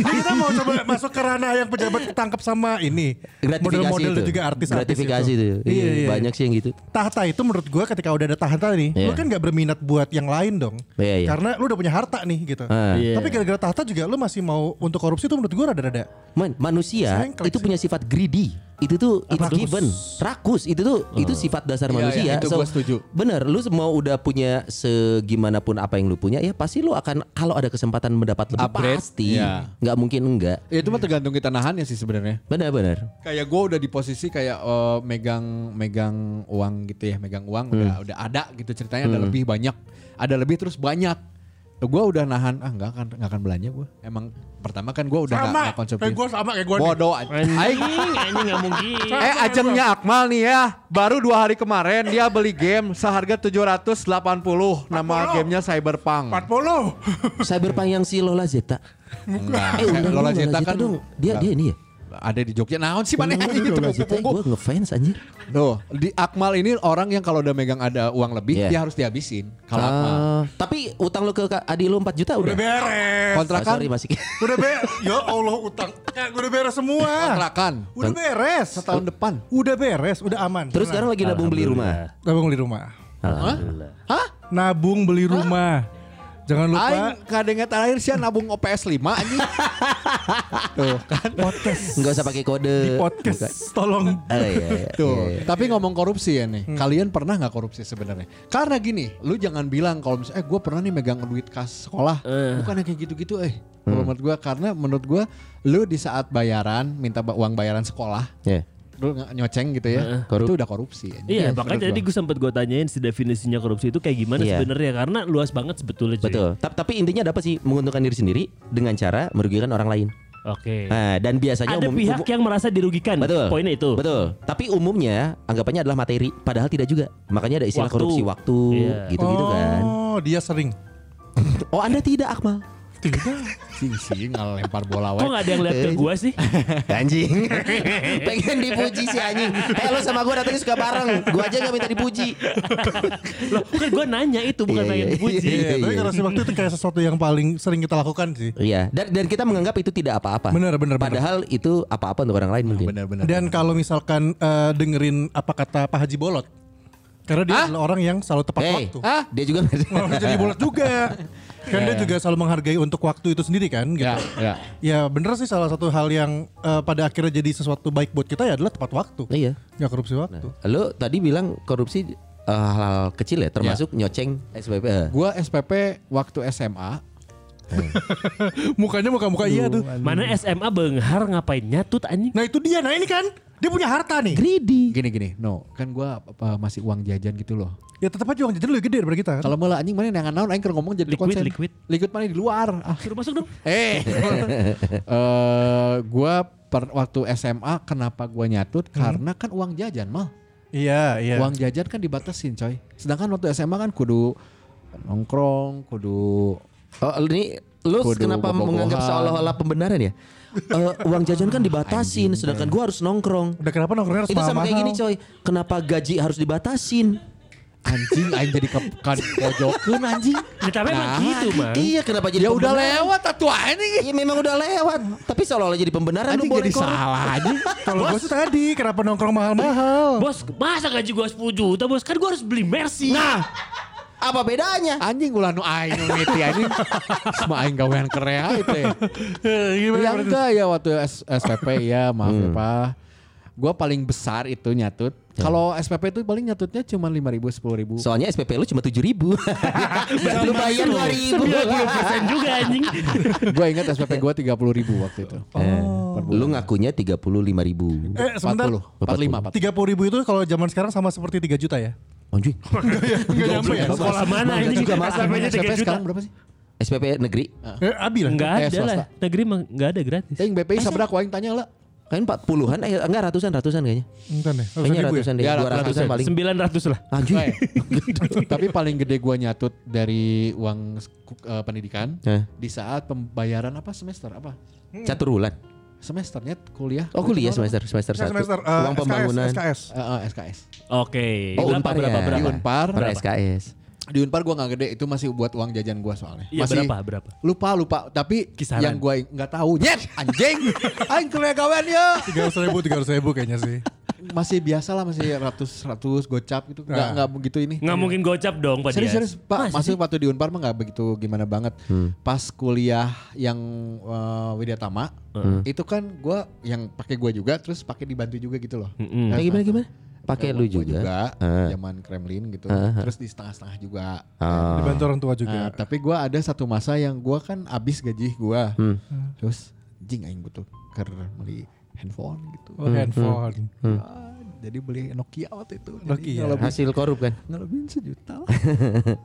Speaker 3: Nah, kita mau coba masuk ke ranah yang pejabat ketangkep sama ini.
Speaker 4: Gratifikasi
Speaker 3: Model-model
Speaker 4: itu.
Speaker 3: dan juga artis-artis
Speaker 4: Gratifikasi itu.
Speaker 3: Iya,
Speaker 4: Iya,
Speaker 3: iya.
Speaker 4: Banyak sih yang gitu.
Speaker 3: Tahta itu menurut gua ketika udah ada tahta nih,
Speaker 4: Iya.
Speaker 3: lu kan nggak berminat buat yang lain dong.
Speaker 4: Iya, iya.
Speaker 3: Karena lu udah punya harta nih gitu.
Speaker 4: Ah.
Speaker 5: Iya.
Speaker 3: Tapi gara-gara tahta juga lu masih mau untuk korupsi itu menurut gua rada-rada.
Speaker 4: Man, manusia
Speaker 3: Sengklek
Speaker 4: itu
Speaker 3: sih.
Speaker 4: punya sifat greedy. Itu tuh it's
Speaker 3: Rakus.
Speaker 4: given. Rakus itu tuh itu sifat dasar
Speaker 2: Iya,
Speaker 4: manusia.
Speaker 2: iya, itu gua setuju.
Speaker 4: Bener, lu mau udah punya segimanapun apa yang lu punya ya pasti lu akan kalau ada kesempatan mendapat lebih
Speaker 2: Upgrade,
Speaker 4: pasti.
Speaker 2: iya.
Speaker 4: Nggak mungkin enggak.
Speaker 2: Ya, itu mah tergantung kita nahannya sih sebenarnya.
Speaker 4: Benar-benar.
Speaker 2: Kayak gue udah di posisi kayak eh, megang megang uang gitu ya, megang uang udah udah ada gitu ceritanya ada lebih banyak, ada lebih terus banyak. Gue udah nahan ah nggak akan nggak akan belanja gue. Emang pertama kan gue udah nggak nggak konsumtif.
Speaker 3: Kayak gua sama kayak gua. nih.
Speaker 2: Bodoh.
Speaker 5: Anjing,
Speaker 2: Aing
Speaker 5: anjing nggak mungkin.
Speaker 2: Eh ajangnya Akmal nih ya Baru dua hari kemarin Dia beli game Seharga 780 Nama gamenya Cyberpunk
Speaker 3: 40.
Speaker 4: Cyberpunk yang si Lola Zeta.
Speaker 2: Enggak
Speaker 4: Eh, undang
Speaker 2: Ah, Lola
Speaker 4: dong,
Speaker 2: Zeta kan
Speaker 4: dong. Dia dia ini ya.
Speaker 2: Ada di Jogja Nah sih mana
Speaker 4: Undang
Speaker 2: anjing
Speaker 4: dong
Speaker 2: itu
Speaker 4: Lola Zeta,
Speaker 2: punggung
Speaker 4: gue ngefans anjir.
Speaker 2: Loh Di Akmal ini orang yang kalau udah megang ada uang lebih
Speaker 4: Iya.
Speaker 2: Dia harus dihabisin Kalau Akmal
Speaker 4: Ah, tapi utang lu ke Kak Adi lu 4 juta
Speaker 3: Udah
Speaker 4: udah.
Speaker 3: beres.
Speaker 4: Ah,
Speaker 2: Kontrakan
Speaker 4: sorry masih.
Speaker 3: Udah beres. Ya Allah utang. Kayak udah beres semua.
Speaker 2: Kontrakan
Speaker 3: Udah beres.
Speaker 2: Setahun depan
Speaker 3: Udah beres, udah aman.
Speaker 4: Terus sekarang lagi nabung beli rumah.
Speaker 3: nabung beli rumah.
Speaker 4: Alhamdulillah.
Speaker 3: Nabung beli rumah. Jangan lupa
Speaker 2: Aing kadangnya terakhir sih nabung OPS 5 anjing Tuh kan
Speaker 3: podcast
Speaker 4: Enggak usah pakai kode.
Speaker 3: di podcast. Tolong.
Speaker 4: Ah, iya, iya.
Speaker 2: Tuh. Tapi ngomong korupsi ya nih. Kalian pernah nggak korupsi sebenarnya? Karena gini, lu jangan bilang kalau misalnya eh gue pernah nih megang duit kas sekolah. Bukan yang kayak gitu-gitu eh.
Speaker 4: Hmm.
Speaker 2: Kalau menurut gue karena menurut gue lu di saat bayaran minta ba- uang bayaran sekolah
Speaker 4: Iya.
Speaker 2: lu nge- nyoceng gitu ya.
Speaker 4: Eh, Korup.
Speaker 2: Itu udah korupsi. anjing.
Speaker 5: Iya,
Speaker 2: menurut
Speaker 5: makanya tadi
Speaker 2: gua.
Speaker 5: gue sempet gue tanyain si definisinya korupsi itu kayak gimana
Speaker 4: Iya.
Speaker 5: sebenarnya karena luas banget sebetulnya. cuy.
Speaker 4: Betul. Ta- Tapi intinya dapat sih menguntungkan diri sendiri dengan cara merugikan orang lain.
Speaker 5: Oke.
Speaker 4: Nah, dan biasanya
Speaker 5: Ada
Speaker 4: umum-
Speaker 5: pihak
Speaker 4: umum-
Speaker 5: yang merasa dirugikan.
Speaker 4: betul.
Speaker 5: Poinnya itu.
Speaker 4: Betul. Tapi umumnya anggapannya adalah materi, padahal tidak juga. Makanya ada istilah
Speaker 5: Waktu.
Speaker 4: korupsi waktu
Speaker 5: Iya.
Speaker 4: gitu-gitu kan.
Speaker 3: Oh, dia sering. Gitu.
Speaker 4: Oh, Anda tidak Akmal.
Speaker 3: Tidak.
Speaker 2: sing sing lempar bola
Speaker 5: Kok
Speaker 2: wae.
Speaker 5: nggak ada yang lihat
Speaker 4: Eh.
Speaker 5: ke gue sih?
Speaker 4: Anjing. Pengen dipuji si anjing. Eh lo sama gua datangnya suka bareng. Gua aja gak minta dipuji.
Speaker 5: Loh, kan gue nanya itu bukan
Speaker 4: Iya,
Speaker 5: pengen
Speaker 4: iya,
Speaker 5: dipuji.
Speaker 4: iya.
Speaker 3: Iya, tapi korupsi waktu itu kayak sesuatu yang paling sering kita lakukan sih.
Speaker 4: Iya, dan, dan kita menganggap itu tidak apa-apa.
Speaker 3: Benar, benar, benar.
Speaker 4: Padahal itu apa-apa untuk orang lain mungkin.
Speaker 2: Benar-benar.
Speaker 3: Dan kalau misalkan eh, dengerin apa kata Pak Haji Bolot. Karena dia adalah orang yang selalu tepat
Speaker 4: Hey,
Speaker 3: waktu.
Speaker 4: ah, dia juga
Speaker 3: Mau jadi bolot juga.
Speaker 4: Iya,
Speaker 3: Kan dia juga selalu menghargai untuk waktu itu sendiri kan gitu.
Speaker 2: ya, ya.
Speaker 3: Ya bener sih salah satu hal yang eh, pada akhirnya jadi sesuatu baik buat kita ya adalah tepat waktu.
Speaker 4: Iya.
Speaker 3: Nggak korupsi waktu.
Speaker 4: Lo tadi bilang korupsi eh, hal-hal kecil ya, termasuk nyoceng SPP. eh.
Speaker 2: Gua SPP waktu SMA
Speaker 3: Mukanya muka-muka iya tuh.
Speaker 5: Mana SMA benghar ngapain nyatut anjing?
Speaker 3: Nah itu dia, nah ini kan dia punya harta nih.
Speaker 4: Greedy.
Speaker 2: gini-gini. No, kan gua apa, masih uang jajan gitu loh.
Speaker 3: Ya tetap aja uang jajan lebih gede daripada kita kan.
Speaker 2: Kalau malah anjing mana yang naon aing keur ngomong jadi
Speaker 5: Liquid,
Speaker 2: konsen.
Speaker 5: liquid.
Speaker 2: Liquid mana di luar. Ah.
Speaker 5: Suruh masuk dong.
Speaker 2: Eh, eh, gua per, waktu SMA kenapa gua
Speaker 4: Hmm.
Speaker 2: nyatut? Karena kan uang jajan mal,
Speaker 3: Iya,
Speaker 5: Ya.
Speaker 3: iya.
Speaker 2: uang jajan kan dibatasin coy. Sedangkan waktu SMA kan kudu nongkrong, kudu
Speaker 4: Oh, ini lo
Speaker 2: Kudu
Speaker 4: kenapa
Speaker 2: bobogohan.
Speaker 4: menganggap seolah-olah pembenaran ya? Eh, uang jajan kan dibatasin, sedangkan gua harus nongkrong.
Speaker 3: Udah kenapa nongkrongnya harus
Speaker 4: Itu sama kayak
Speaker 3: mahal-mahal?
Speaker 4: gini coy, kenapa gaji harus dibatasin?
Speaker 2: anjing aing jadi ke kan pojokeun anjing.
Speaker 5: Ya, tapi emang gitu, Mang.
Speaker 4: Iya kenapa
Speaker 2: Ya
Speaker 4: jadi
Speaker 2: udah
Speaker 4: pembenaran?
Speaker 2: lewat tatu anjing.
Speaker 4: Iya memang udah lewat, tapi seolah-olah jadi pembenaran Kan lu
Speaker 2: Anjing
Speaker 4: boleh
Speaker 2: jadi
Speaker 4: korupsi.
Speaker 2: salah anjing.
Speaker 3: Kalau gue sih tadi kenapa nongkrong mahal-mahal?
Speaker 5: Bos, masa gaji gue 10 juta, Bos? Kan gue harus beli Mercy. Nah,
Speaker 4: Apa bedanya?
Speaker 2: Anjing ulah nu aing nu ngiti anjing. Sama aing gawean kerea itu ya.
Speaker 3: Eh,
Speaker 2: Ya enggak ya waktu S- SPP ya maaf ya
Speaker 4: Hmm.
Speaker 2: Pak. Gue paling besar itu nyatut. Kalau SPP itu paling nyatutnya cuma 5 ribu, 10 ribu.
Speaker 4: Soalnya SPP lu cuma tujuh ribu, lu bayar dua ribu.
Speaker 5: 90% juga anjing.
Speaker 2: gue ingat SPP gue 30 ribu waktu itu.
Speaker 4: Eh, Lu ngakunya tiga puluh lima ribu.
Speaker 3: Eh sebentar.
Speaker 2: 40, 45, 40.
Speaker 3: Tiga puluh ribu itu kalau zaman sekarang sama seperti 3 juta ya?
Speaker 4: Anjing,
Speaker 3: Enggak nyampe ya?
Speaker 5: Sekolah mana anjing?
Speaker 4: juga, Mang.
Speaker 5: SMP-nya 3
Speaker 2: SPP
Speaker 5: juta.
Speaker 2: sekarang berapa sih?
Speaker 4: SPP negeri
Speaker 3: Eh, abi lah.
Speaker 5: Enggak
Speaker 2: Eh,
Speaker 5: ada lah.
Speaker 2: swasta. Eh,
Speaker 5: Negeri mah enggak ada gratis.
Speaker 2: Ting BPI sabrak aing tanya lah.
Speaker 4: kan empat puluhan, eh enggak ratusan ratusan kayaknya.
Speaker 3: Bentar deh. harus
Speaker 4: Kayaknya
Speaker 3: ribu ya?
Speaker 4: ratusan deh,
Speaker 2: Ya,
Speaker 4: dua ratusan paling.
Speaker 5: 900 lah.
Speaker 4: Anjing,
Speaker 2: Eh, Tapi paling gede gue nyatut dari uang eh, pendidikan
Speaker 4: Eh.
Speaker 2: di saat pembayaran apa semester apa?
Speaker 4: catur bulan.
Speaker 2: Semesternya kuliah.
Speaker 4: Oh kuliah semester semester
Speaker 3: Saya
Speaker 4: satu.
Speaker 3: semester eh,
Speaker 4: Uang pembangunan.
Speaker 3: SKS. SKS.
Speaker 2: Eh, eh, SKS.
Speaker 5: Oke.
Speaker 4: Oh,
Speaker 5: berapa
Speaker 4: Unpar ya.
Speaker 5: berapa
Speaker 2: Di
Speaker 5: berapa?
Speaker 2: Unpar
Speaker 4: Per SKS.
Speaker 2: Di Unpar gue nggak gede itu masih buat uang jajan gue soalnya.
Speaker 5: Iya,
Speaker 2: masih
Speaker 5: berapa, berapa?
Speaker 2: Lupa lupa tapi
Speaker 5: Kisaran.
Speaker 2: yang gue nggak tahu. Nyet anjing. Aing kena kawan ya.
Speaker 3: tiga ratus ribu tiga ratus ribu kayaknya sih
Speaker 2: Masih biasa lah masih ratus ratus gocap gitu. Nggak
Speaker 3: Nah.
Speaker 2: nggak begitu ini.
Speaker 5: Nggak mungkin gocap dong Pak
Speaker 2: Serius
Speaker 5: Dias.
Speaker 2: serius Pak, masih waktu di Unpar mah nggak begitu gimana banget.
Speaker 4: Hmm.
Speaker 2: Pas kuliah yang eh, Widyatama,
Speaker 4: Hmm.
Speaker 2: itu kan gua yang pakai gua juga terus pakai dibantu juga gitu loh.
Speaker 5: Mm-mm.
Speaker 2: Nah,
Speaker 4: Kayak gimana gimana? Pakai
Speaker 2: gua-
Speaker 4: lu
Speaker 2: gua
Speaker 4: juga. Ah.
Speaker 2: zaman Kremlin gitu. Terus di setengah-setengah juga.
Speaker 4: Ah.
Speaker 3: dibantu orang
Speaker 2: Nah,
Speaker 3: tua juga
Speaker 2: tapi gua ada satu masa yang gua kan abis gaji gua.
Speaker 4: Hmm.
Speaker 2: Terus jing aing butuh ker beli handphone gitu.
Speaker 4: Hmm,
Speaker 3: oh, handphone
Speaker 2: Ah, jadi beli Nokia waktu itu.
Speaker 3: Nokia.
Speaker 2: Jadi ngelebih-
Speaker 4: Hasil korup kan?
Speaker 2: ngelebihin sejuta lah.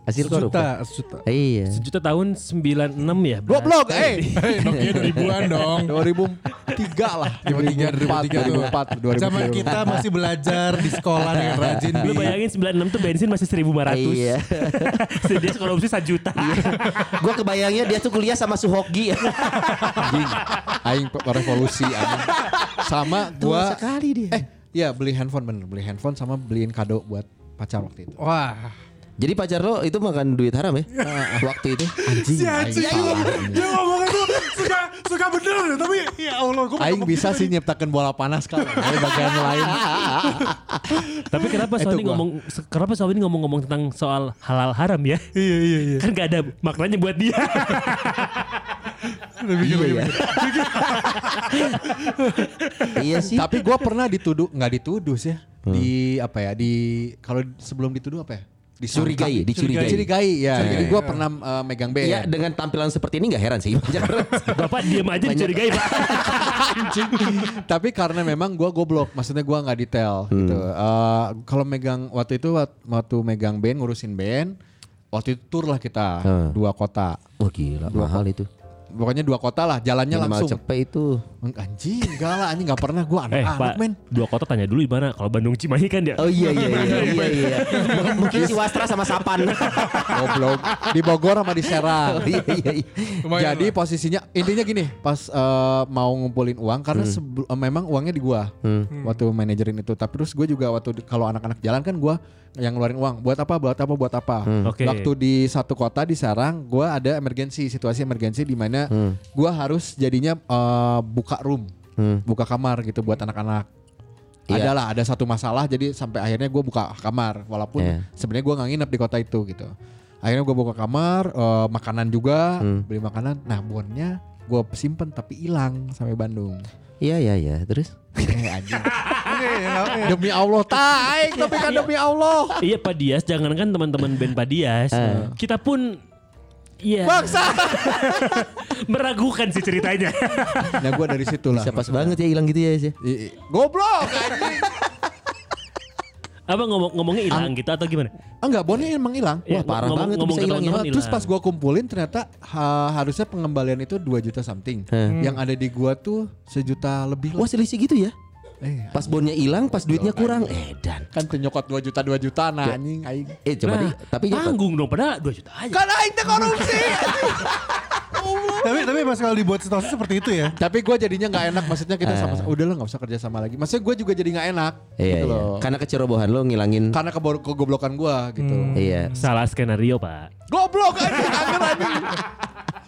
Speaker 4: Hasil korup.
Speaker 3: sejuta
Speaker 4: kan?
Speaker 3: sejuta
Speaker 4: Iya.
Speaker 5: Sejuta tahun 96 ya.
Speaker 2: Dua blok, eh.
Speaker 3: Eh, Nokia dua ribuan dong
Speaker 2: 2003 lah 2004
Speaker 3: 2003 tuh. Zaman kita masih belajar di sekolah dengan rajin.
Speaker 5: Lu
Speaker 3: Bi.
Speaker 5: bayangin 96 tuh bensin masih 1500.
Speaker 4: Iya.
Speaker 5: Dia sekolah opsi 1 juta.
Speaker 4: Gua kebayangnya dia tuh kuliah sama Suhoki.
Speaker 2: Anjing. aing pe- revolusi anjing. sama gua sekali dia eh ya beli handphone bener beli handphone sama beliin kado buat pacar waktu itu
Speaker 3: Wah.
Speaker 4: Jadi pacar lo itu makan duit haram ya? Waktu itu.
Speaker 2: anjing
Speaker 4: Iya,
Speaker 3: Si anjing
Speaker 2: aing,
Speaker 3: gua-
Speaker 2: salah.
Speaker 3: dia ngomongnya tuh suka suka bener deh, tapi ya Allah gua
Speaker 2: Aing bisa sih nyiptakan bola panas kalau dari bagian lain
Speaker 5: Tapi kenapa
Speaker 2: Itu
Speaker 5: Sony
Speaker 2: gua.
Speaker 5: ngomong kenapa Sony ngomong-ngomong tentang soal halal haram ya?
Speaker 3: Iya iya iya.
Speaker 5: Kan gak ada maknanya buat dia.
Speaker 4: iya ya. iya sih.
Speaker 2: tapi gua pernah dituduh nggak dituduh sih ya
Speaker 4: Hmm.
Speaker 2: di apa ya di kalau sebelum dituduh apa ya Disangka.
Speaker 4: Dicurigai, dicurigai.
Speaker 2: dicurigai ya jadi gua pernah eh, megang BN
Speaker 4: Iya dengan tampilan seperti ini nggak heran sih.
Speaker 5: Bapak diam aja dicurigai, Pak.
Speaker 2: Anjing. Tapi karena memang gue goblok, maksudnya gue nggak detail
Speaker 4: Hmm.
Speaker 2: gitu. Eh, Kalau megang waktu itu wak- waktu megang band ngurusin band, waktu itu tur lah kita
Speaker 4: Hmm.
Speaker 2: dua kota,
Speaker 4: Wah gila mahal itu.
Speaker 2: pokoknya dua kota lah, jalannya
Speaker 4: Minimal
Speaker 2: langsung.
Speaker 4: cepet itu.
Speaker 2: Anjing, enggak lah, anjing nggak pernah gue
Speaker 5: Eh,
Speaker 2: anak-anak
Speaker 5: Pak.
Speaker 2: men.
Speaker 5: Dua kota tanya dulu di mana. Kalau Bandung Cimahi kan dia.
Speaker 4: Oh iya iya iya iya. iya. Mungkin- Mungkin si Wastra sama Sapan.
Speaker 2: Goblok. Di Bogor sama di Serang.
Speaker 4: iya iya. iya.
Speaker 3: Lumayan
Speaker 2: Jadi posisinya intinya gini, pas eh, mau ngumpulin uang karena sebel- eh, memang uangnya di gua
Speaker 3: Hmm.
Speaker 2: waktu manajerin itu. Tapi terus gue juga waktu di- kalau anak-anak jalan kan gua yang ngeluarin uang. Buat apa? Buat apa? Buat apa?
Speaker 5: Oke.
Speaker 2: Waktu di satu kota di Serang, gua ada emergensi, situasi emergensi di mana gua harus jadinya eh, buka room, buka kamar gitu buat anak-anak.
Speaker 4: Iya.
Speaker 2: Adalah ada satu masalah jadi sampai akhirnya gua buka kamar walaupun
Speaker 4: Iya.
Speaker 2: sebenarnya gua nggak nginep di kota itu gitu akhirnya gue buka kamar eh, makanan juga beli makanan nah bonnya gue simpen tapi hilang sampai Bandung
Speaker 4: Iya iya iya. Terus?
Speaker 2: eh, anjing. demi Allah taik tapi kan demi Allah
Speaker 5: Iya Pak Dias, jangankan teman-teman band Pak Dias, kita pun Iya. Meragukan sih ceritanya.
Speaker 2: nah gue dari situ lah
Speaker 4: Bisa pas banget ya hilang gitu ya. Sia.
Speaker 2: I- i- goblok anjing
Speaker 5: Apa ngomong ngomongnya hilang gitu atau gimana?
Speaker 2: Ah, enggak bonnya emang hilang
Speaker 4: Wah,
Speaker 5: Iya,
Speaker 4: parah banget tuh
Speaker 5: ngomong
Speaker 4: bisa
Speaker 5: ke
Speaker 4: hilang ya.
Speaker 5: teman-teman
Speaker 2: terus
Speaker 5: hilang.
Speaker 2: pas gue kumpulin ternyata ha- harusnya pengembalian itu 2 juta something yang ada di gua tuh sejuta lebih lah.
Speaker 4: Wah
Speaker 5: Oh,
Speaker 4: selisih gitu ya.
Speaker 2: eh,
Speaker 4: Pas bonnya hilang, pas duitnya kurang. Edan.
Speaker 2: kan penyokot 2 juta 2 juta nah
Speaker 5: Ya.
Speaker 2: anjing aing
Speaker 4: Eh coba
Speaker 5: nah,
Speaker 4: deh. Tapi nyokot.
Speaker 5: tanggung dong padahal 2 juta aja.
Speaker 2: kan aing teh korupsi
Speaker 3: Tapi tapi mas kalau dibuat situasi seperti itu ya.
Speaker 2: Tapi gue jadinya nggak enak, maksudnya
Speaker 5: Ah.
Speaker 2: kita sama udah lah nggak usah kerja sama lagi. Maksudnya gue juga jadi nggak enak,
Speaker 4: Iya
Speaker 2: gitu
Speaker 4: iya.
Speaker 2: loh.
Speaker 5: Kan-
Speaker 4: Karena kecerobohan lo ngilangin.
Speaker 2: Karena kebor- kegoblokan gue gitu.
Speaker 5: Hmm.
Speaker 4: Iya.
Speaker 5: Salah skenario, Pak.
Speaker 2: Goblok aja, kangen anjing.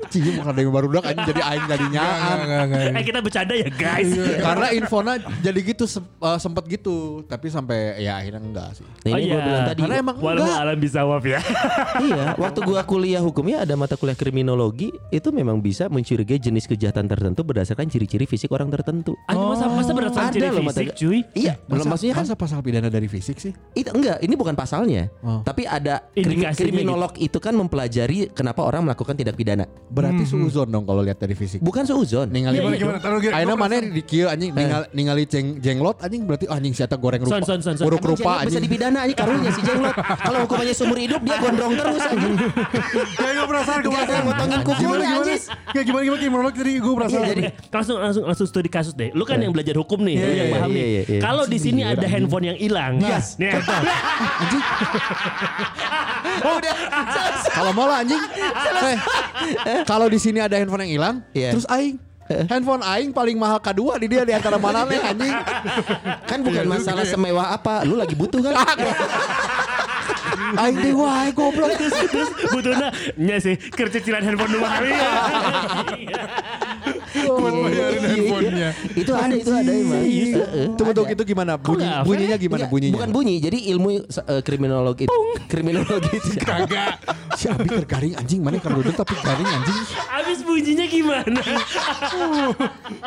Speaker 2: Cie, bukan ada yang baru dak anjing jadi aing jadi nyaan.
Speaker 3: Enggak enggak.
Speaker 5: Eh kita bercanda ya, guys.
Speaker 2: Karena infona jadi gitu se- eh, sempet gitu, tapi sampai ya akhirnya enggak sih.
Speaker 4: Nah, ini
Speaker 5: Oh,
Speaker 4: gua
Speaker 5: iya.
Speaker 4: bilang tadi.
Speaker 2: Karena emang
Speaker 5: Walau
Speaker 2: enggak.
Speaker 5: alam bisa waf ya.
Speaker 4: iya, waktu gua kuliah hukumnya ada mata kuliah kriminologi itu memang bisa mencurigai jenis kejahatan tertentu berdasarkan ciri-ciri fisik orang tertentu. Oh.
Speaker 5: Anjing masa masa berdasarkan ciri
Speaker 4: mata-
Speaker 5: fisik, cuy.
Speaker 4: Iya, belum maksudnya kan
Speaker 2: masa pasal pidana dari fisik sih?
Speaker 4: itu enggak, ini bukan pasalnya.
Speaker 5: Oh.
Speaker 4: Tapi ada krimi-
Speaker 5: Indikasinya
Speaker 4: kriminolog itu kan mempelajari kenapa orang melakukan tindak pidana.
Speaker 2: Berarti suuzon dong kalau lihat dari fisik.
Speaker 4: Bukan seuzon.
Speaker 2: Ningali
Speaker 3: Gimana, gimana? Taruh, Gir.
Speaker 2: Aina mana di kieu anjing
Speaker 4: Eh.
Speaker 2: ningali, ningali ceng, jenglot anjing berarti oh, anjing siapa goreng rupa.
Speaker 5: Son, son, son, son.
Speaker 2: Buruk
Speaker 4: Emang jenglot
Speaker 2: rupa
Speaker 4: bisa
Speaker 2: anjing.
Speaker 4: dipidana ini karunya si jenglot. Kalau hukumannya seumur hidup dia gondrong terus anjing.
Speaker 3: Ya gue penasaran gue penasaran.
Speaker 4: Dia motongin kuku
Speaker 3: Gimana
Speaker 4: lu,
Speaker 3: gimana?
Speaker 4: anjis.
Speaker 3: Ya gimana gimana kriminolog tadi gue penasaran.
Speaker 4: jadi
Speaker 5: Eh, Langsung langsung langsung studi kasus deh. Lu kan yang belajar hukum nih, lu
Speaker 4: iya,
Speaker 5: yang
Speaker 4: iya,
Speaker 5: paham
Speaker 4: iya,
Speaker 5: nih.
Speaker 4: iya, iya.
Speaker 5: Kalau di sini ada handphone yang hilang. Nah,
Speaker 2: Yes.
Speaker 5: Nih.
Speaker 4: Udah.
Speaker 2: Oh, Kalau mau lah anjing. Eh, kalau di sini ada handphone yang hilang,
Speaker 4: Iya.
Speaker 2: terus aing. Handphone aing paling mahal kedua di dia di antara mana nih anjing. Iya.
Speaker 4: Iya. Kan bukan masalah semewah apa, lu lagi butuh kan.
Speaker 2: Aing teh wae goblok.
Speaker 5: terus terus butuhnya nya sih kercecilan handphone dua kali
Speaker 4: Iya.
Speaker 5: Iya. ya.
Speaker 3: Buat bayarin
Speaker 2: Iya.
Speaker 3: handphonenya.
Speaker 4: Itu ada itu ada emang. Iya, eh. Heeh.
Speaker 2: Tunggu tunggu itu gimana? Bunyi,
Speaker 5: nggak hafal
Speaker 2: bunyinya gimana
Speaker 4: Enggak,
Speaker 2: bunyinya?
Speaker 4: Bukan bunyi, jadi ilmu eh, kriminologi kriminologi
Speaker 3: Kagak.
Speaker 2: Si Abi tergaring anjing mana kalau duduk tapi garing anjing.
Speaker 5: Abis bunyinya gimana?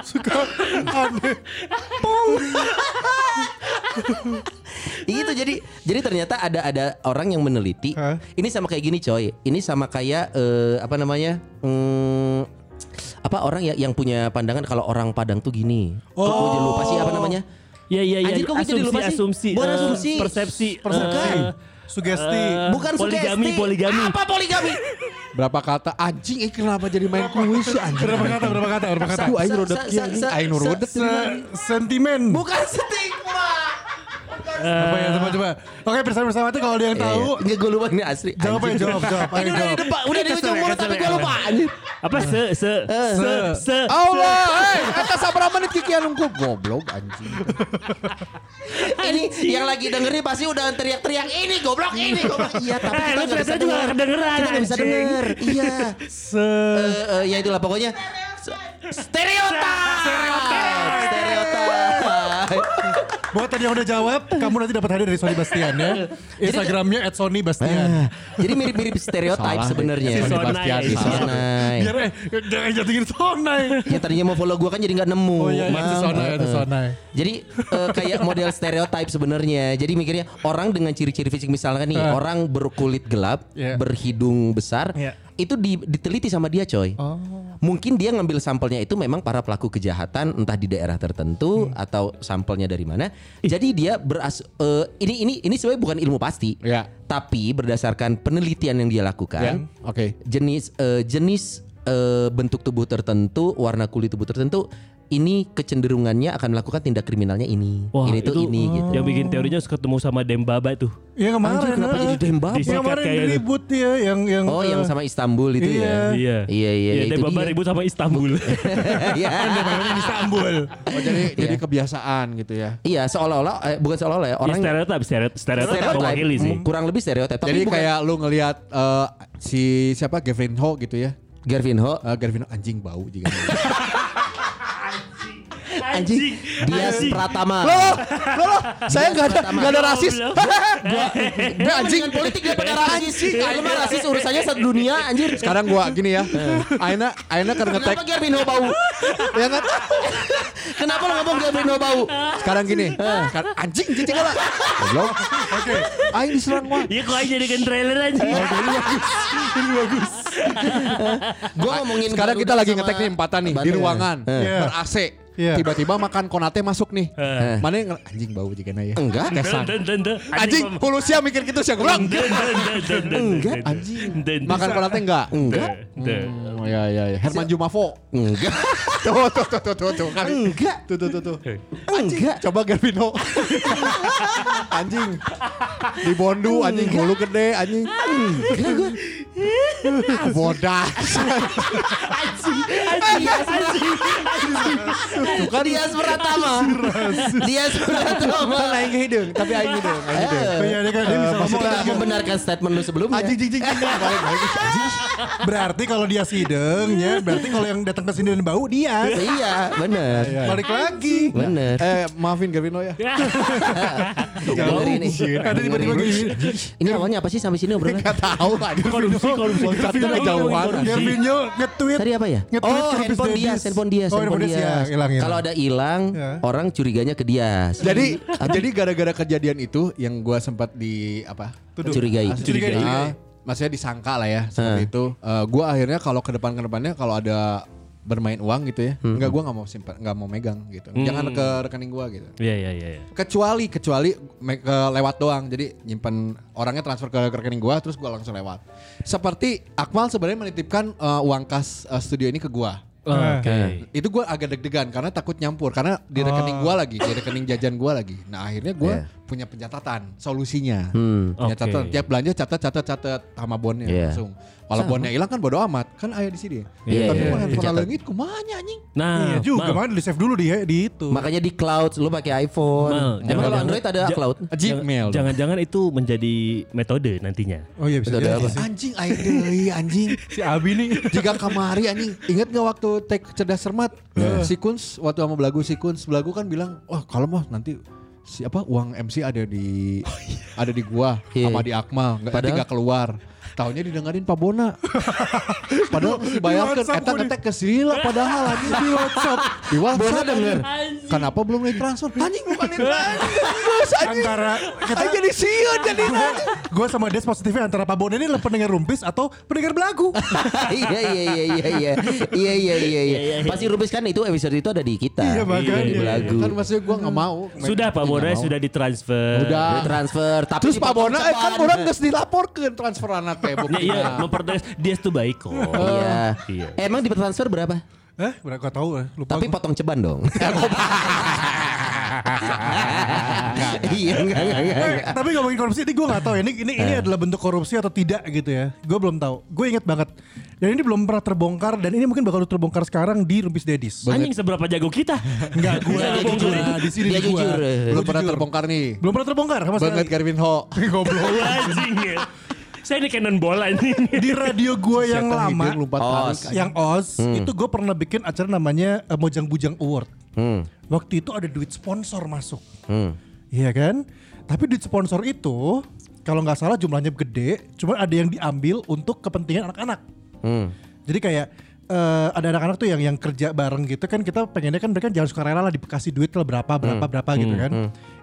Speaker 3: Suka aneh.
Speaker 4: itu jadi jadi ternyata ada ada orang yang meneliti.
Speaker 3: Hah?
Speaker 4: Ini sama kayak gini coy. Ini sama kayak eh, apa namanya? Hmm, apa orang ya, yang yang punya pandangan kalau orang Padang tuh gini. Oh, gue jadi lupa sih apa namanya?
Speaker 5: Ya ya ya.
Speaker 4: Anjir, kok gue jadi lupa sih?
Speaker 5: asumsi,
Speaker 4: Bukan
Speaker 5: eh,
Speaker 4: asumsi.
Speaker 5: persepsi,
Speaker 3: Persepsi.
Speaker 5: eh,
Speaker 3: Sugesti.
Speaker 5: eh,
Speaker 4: Bukan
Speaker 5: poligami,
Speaker 4: sugesti.
Speaker 5: poligami.
Speaker 4: Apa poligami?
Speaker 2: Berapa kata anjing eh kenapa jadi main kuis sih anjing.
Speaker 3: Berapa kata? Berapa kata? Berapa kata?
Speaker 2: Aduh aing
Speaker 4: Sa-
Speaker 2: rodet
Speaker 4: sa-
Speaker 2: kieu
Speaker 4: sa-
Speaker 2: nih,
Speaker 4: sa-
Speaker 2: aing nu
Speaker 4: sa-
Speaker 2: rodet.
Speaker 4: sa-
Speaker 3: Se- Sentimen.
Speaker 4: Bukan stigma.
Speaker 3: Apa ya? Coba coba. Oke bersama-bersama
Speaker 4: Iya,
Speaker 3: tuh kalau ada yang tahu.
Speaker 4: Enggak gue lupa ini asli.
Speaker 3: Jawab aja
Speaker 4: Anjir.
Speaker 3: jawab jawab. Ayo
Speaker 4: Ini udah di
Speaker 3: jawab.
Speaker 4: depan, udah di ujung mulut tapi gue lupa. Anjir.
Speaker 5: Apa se se
Speaker 4: Eh,
Speaker 5: se se
Speaker 2: Allah, eh, kata sabaraha menit kiki nunggu goblok anjing.
Speaker 4: Ini yang lagi dengerin pasti udah teriak-teriak ini goblok ini goblok. Iya tapi
Speaker 5: Eh, lu
Speaker 4: kita nggak bisa
Speaker 5: teriak-teriak juga
Speaker 4: denger.
Speaker 5: nggak kedengeran,
Speaker 4: Kita nggak bisa
Speaker 5: anjing.
Speaker 4: denger. Iya. Eh, eh, ya itulah pokoknya. Stereotip. Stereotip. Stereotip.
Speaker 3: Buat tadi yang udah jawab, kamu nanti dapat hadiah dari Sony Bastian ya. Instagramnya at
Speaker 4: Ah,
Speaker 3: Sony Bastian.
Speaker 4: Jadi mirip-mirip stereotip
Speaker 2: Salah ya. nih.
Speaker 4: sebenarnya.
Speaker 5: Si Sonai.
Speaker 2: Bastian,
Speaker 5: Si
Speaker 2: salah.
Speaker 4: Sonai.
Speaker 3: Biar eh, jangan jatuhin Sonai.
Speaker 4: Ya tadinya mau follow gue kan jadi nggak nemu.
Speaker 3: Oh iya, iya, itu
Speaker 4: Mau.
Speaker 3: Sonai, itu
Speaker 4: Eh, eh.
Speaker 3: Sonai.
Speaker 4: Jadi eh, kayak model stereotip sebenarnya. Jadi mikirnya orang dengan ciri-ciri fisik misalnya nih
Speaker 3: Eh.
Speaker 4: orang berkulit gelap,
Speaker 3: Iya.
Speaker 4: berhidung besar,
Speaker 3: Iya.
Speaker 4: itu di- diteliti sama dia coy. Mungkin dia ngambil sampelnya itu memang para pelaku kejahatan entah di daerah tertentu atau sampelnya dari mana. Jadi dia beras eh, ini ini ini sebenarnya bukan ilmu pasti.
Speaker 2: Iya.
Speaker 4: Tapi berdasarkan penelitian yang dia lakukan,
Speaker 2: Ya, oke.
Speaker 4: jenis eh, jenis eh, bentuk tubuh tertentu, warna kulit tubuh tertentu, ini kecenderungannya akan melakukan tindak kriminalnya ini.
Speaker 5: Wah, Oh.
Speaker 4: ini tuh ini gitu.
Speaker 5: Yang bikin teorinya harus ketemu sama Dembaba tuh.
Speaker 3: Yang kemarin.
Speaker 4: Anjir, kenapa
Speaker 3: eh,
Speaker 4: jadi dembab?
Speaker 5: Di-
Speaker 3: Yang kemarin
Speaker 5: Sikat kayak
Speaker 3: ribut ya, yang yang
Speaker 4: Oh, yang
Speaker 3: eh,
Speaker 4: sama Istanbul itu
Speaker 3: iya.
Speaker 4: ya.
Speaker 5: Iya.
Speaker 4: Iya, iya,
Speaker 5: Iya,
Speaker 4: itu
Speaker 5: Dembaba
Speaker 4: dia.
Speaker 5: ribut sama Istanbul.
Speaker 4: Iya.
Speaker 3: di Istanbul.
Speaker 2: Oh, jadi jadi kebiasaan gitu ya.
Speaker 4: Iya, seolah-olah eh, bukan seolah-olah ya,
Speaker 5: Ya,
Speaker 4: orang
Speaker 5: stereotip, stereotip, stereotip mewakili sih.
Speaker 4: mm, kurang lebih stereotip. Tapi
Speaker 2: Jadi
Speaker 4: bukan-
Speaker 2: kayak lu ngelihat eh, si siapa Gavin Ho gitu ya.
Speaker 4: Garvin Ho
Speaker 2: Eh, Gavin Ho anjing bau juga.
Speaker 4: anjing, dia
Speaker 5: anjing.
Speaker 4: Pratama.
Speaker 2: Loh, loh, loh, saya nggak ada nggak ada rasis.
Speaker 5: Belum.
Speaker 4: Dia anjing politik dia pada rasis sih. Kalau mah rasis urusannya satu dunia anjir.
Speaker 2: Sekarang gua gini ya. Aina Aina kan ngetek
Speaker 4: Kenapa Garvin Ho bau?
Speaker 2: ya kan.
Speaker 4: Kenapa lo ngomong Garvin Ho bau?
Speaker 2: Sekarang gini. Sekarang- anjing anjing lah. Eh. Goblok. Oke. Aing diserang mah.
Speaker 5: Iya kok aja jadikan trailer aja.
Speaker 2: Oh,
Speaker 4: Gue ngomongin
Speaker 2: Sekarang kita
Speaker 4: Garuda
Speaker 2: lagi
Speaker 4: sama ya. Eh.
Speaker 2: ngetek nih empatan nih di
Speaker 4: Bandung.
Speaker 2: ruangan
Speaker 3: Iya.
Speaker 2: ber AC.
Speaker 3: Iya.
Speaker 2: Tiba-tiba makan konate masuk nih.
Speaker 5: Eh.
Speaker 2: Mana yang nge- anjing bau juga ya.
Speaker 4: Enggak.
Speaker 2: Kesan.
Speaker 5: Dan, dan, dan.
Speaker 2: Anjing
Speaker 5: mama.
Speaker 2: hulu sia mikir gitu sih goblok.
Speaker 5: Dan, dan, dan, dan, dan,
Speaker 4: Enggak,
Speaker 5: dan, dan.
Speaker 2: Anjing.
Speaker 5: Dan, dan.
Speaker 2: Makan konate enggak?
Speaker 4: Enggak.
Speaker 5: Dan.
Speaker 2: Oh ya ya ya. Herman Jumafo.
Speaker 4: Enggak.
Speaker 2: Tuh tuh tuh tuh tuh tuh kan.
Speaker 4: Enggak.
Speaker 2: Tuh tuh tuh tuh. Anjing,
Speaker 4: Enggak.
Speaker 2: Coba Gervino. anjing. Di Bondu anjing bulu gede anjing.
Speaker 4: Enggak gue.
Speaker 2: Bodas.
Speaker 5: Anjing, anjing.
Speaker 4: Bukan dia Pratama. Dia Pratama.
Speaker 2: Kan aing hideung, tapi aing hideung, aing hideung.
Speaker 3: Iya, dia kan dia bisa ngomong
Speaker 4: Tidak
Speaker 3: kan.
Speaker 4: membenarkan statement lu sebelumnya.
Speaker 2: Anjing jing jing jing. Balik, balik. Anjing.
Speaker 3: Berarti kalau dia sideng ya, berarti kalau yang datang ke sini dan bau dia.
Speaker 4: Iya, bener.
Speaker 3: Balik lagi.
Speaker 4: Bener.
Speaker 2: Eh, maafin Gervino ya.
Speaker 3: Bau.
Speaker 4: Dengerin ini.
Speaker 3: Ada tiba-tiba gini.
Speaker 4: Ini awalnya apa sih sampai sini obrolan?
Speaker 2: Enggak tahu tadi.
Speaker 5: Korupsi, korupsi.
Speaker 2: Satu kejauhan.
Speaker 3: Garvinho nge-tweet.
Speaker 4: Tadi apa ya?
Speaker 3: Nge-tweet
Speaker 4: Oh,
Speaker 3: ke Rubis
Speaker 4: handphone
Speaker 3: Davis.
Speaker 4: dia, handphone dia,
Speaker 3: Oh, handphone dia hilang ya.
Speaker 4: Kalau ada hilang,
Speaker 3: Ya.
Speaker 4: orang curiganya ke dia.
Speaker 2: Jadi jadi gara-gara kejadian itu yang gua sempat di apa?
Speaker 4: curigai.
Speaker 3: Curigai.
Speaker 2: Ah, maksudnya disangka lah ya seperti itu. Eh, gua akhirnya kalau ke depan ke depannya kalau ada bermain uang gitu ya, enggak gua nggak mau simpan, nggak mau megang gitu. Jangan ke rekening gua gitu.
Speaker 5: Iya, iya, iya. iya.
Speaker 2: Kecuali kecuali me- ke lewat doang. Jadi nyimpan orangnya transfer ke rekening gua terus gua langsung lewat. Seperti Akmal sebenarnya menitipkan eh, uang kas eh, studio ini ke gua.
Speaker 5: Oke.
Speaker 2: Itu
Speaker 4: Oh.
Speaker 2: gua agak deg-degan karena takut nyampur karena di rekening gua lagi, di rekening jajan gua lagi. Nah, akhirnya gua punya pencatatan solusinya.
Speaker 4: Iya. Hmm.
Speaker 2: Punya
Speaker 5: Oke.
Speaker 2: catatan, tiap belanja catat catat catat sama bonnya
Speaker 4: Iya.
Speaker 2: langsung. Kalau
Speaker 4: Sama.
Speaker 2: bonnya hilang kan bodo amat, kan ayah di sini.
Speaker 4: Iya,
Speaker 2: Tapi
Speaker 4: iya,
Speaker 2: mah handphone
Speaker 4: dicatat.
Speaker 2: leungit kumaha anjing?
Speaker 5: Nah,
Speaker 3: Iya juga,
Speaker 5: Mal,
Speaker 3: makanya di save dulu di, di itu.
Speaker 4: Makanya di cloud lu pakai iPhone. Emang
Speaker 5: Mal, Nah, jangan-
Speaker 4: kalau Android ada
Speaker 5: jangan-
Speaker 4: cloud?
Speaker 2: Gmail. dong.
Speaker 5: Jangan-jangan itu menjadi metode nantinya.
Speaker 3: oh iya bisa
Speaker 4: Itu ada
Speaker 3: jadi
Speaker 4: apa?
Speaker 3: sih.
Speaker 2: Anjing aing deui anjing.
Speaker 3: Si Abi nih.
Speaker 2: Jika kamari anjing ingat gak waktu take cerdas cermat si Kunz waktu sama Belagu si Kunz Belagu kan bilang wah kalau mah nanti siapa uang MC ada di ada di gua
Speaker 4: Iya.
Speaker 2: sama di Akmal nggak nanti
Speaker 4: Padahal-
Speaker 2: nggak keluar tahunya didengerin Pak Bona padahal mesti bayangkan
Speaker 3: WhatsApp
Speaker 2: eta
Speaker 3: gua di-
Speaker 2: ngetek ke Sila padahal anjing di WhatsApp di WhatsApp
Speaker 4: Bona denger.
Speaker 2: kenapa belum ditransfer anjing bukan ditransfer anjing
Speaker 3: Antara kita
Speaker 2: Anjing jadi sieun jadi
Speaker 3: gue sama Des positifnya antara Pak Bon ini le- pendengar rumpis atau pendengar belagu.
Speaker 4: iya iya iya iya iya iya iya iya iya pasti rubis kan itu episode itu ada di kita
Speaker 3: Iya, makanya.
Speaker 4: di lagu
Speaker 2: kan maksudnya gua nggak mau
Speaker 5: Sudah Pak
Speaker 2: Nggak
Speaker 5: Bona
Speaker 2: mau.
Speaker 5: sudah ditransfer. Nah,
Speaker 2: Udah.
Speaker 4: Dia transfer tapi
Speaker 2: Terus Pak
Speaker 4: dipotong
Speaker 2: Bona eh, kan
Speaker 4: cepat.
Speaker 2: orang geus dilaporkan transferan teh
Speaker 5: Ya,
Speaker 2: buktinya.
Speaker 5: iya, mempertegas dia tuh baik kok.
Speaker 4: iya
Speaker 5: Iya.
Speaker 4: Eh, emang di transfer berapa
Speaker 3: Eh, berapa gak tahu eh, lupa.
Speaker 4: tapi
Speaker 3: gua.
Speaker 4: potong ceban dong iya enggak enggak enggak
Speaker 3: Eh, tapi ngomongin korupsi ini gue gak tahu ya ini ini, ini adalah bentuk korupsi atau tidak gitu ya gue belum tahu gue inget banget dan ini belum pernah terbongkar dan ini mungkin bakal terbongkar sekarang di Rumpis Dedis
Speaker 5: Anjing seberapa jago kita?
Speaker 3: Enggak gue
Speaker 4: Dia
Speaker 3: jujur
Speaker 4: jujur.
Speaker 3: di sini
Speaker 4: Dia
Speaker 3: di gua.
Speaker 4: jujur.
Speaker 2: Belum
Speaker 3: Gua
Speaker 2: pernah
Speaker 3: jujur.
Speaker 2: terbongkar nih.
Speaker 3: belum pernah terbongkar sama
Speaker 2: Banget
Speaker 3: sekali
Speaker 2: Garvin Ho.
Speaker 3: goblok
Speaker 5: Wah, Anjing ya. Saya di cannon bola anjing.
Speaker 3: di radio gue yang
Speaker 2: Setan
Speaker 3: lama
Speaker 2: hidung Lompat
Speaker 4: Oh,
Speaker 2: tarik.
Speaker 4: si-
Speaker 3: yang OS itu gue pernah bikin acara namanya eh, Mojang Bujang Award
Speaker 4: Hmm,
Speaker 3: waktu itu ada duit sponsor masuk
Speaker 4: hmm.
Speaker 3: Iya kan? Tapi duit sponsor itu kalau nggak salah jumlahnya gede, cuman ada yang diambil untuk kepentingan anak-anak.
Speaker 4: Hmm.
Speaker 3: Jadi kayak eh, ada anak-anak tuh yang yang kerja bareng gitu kan kita pengennya kan mereka jangan suka rela lah dikasih duit lah berapa berapa berapa gitu kan.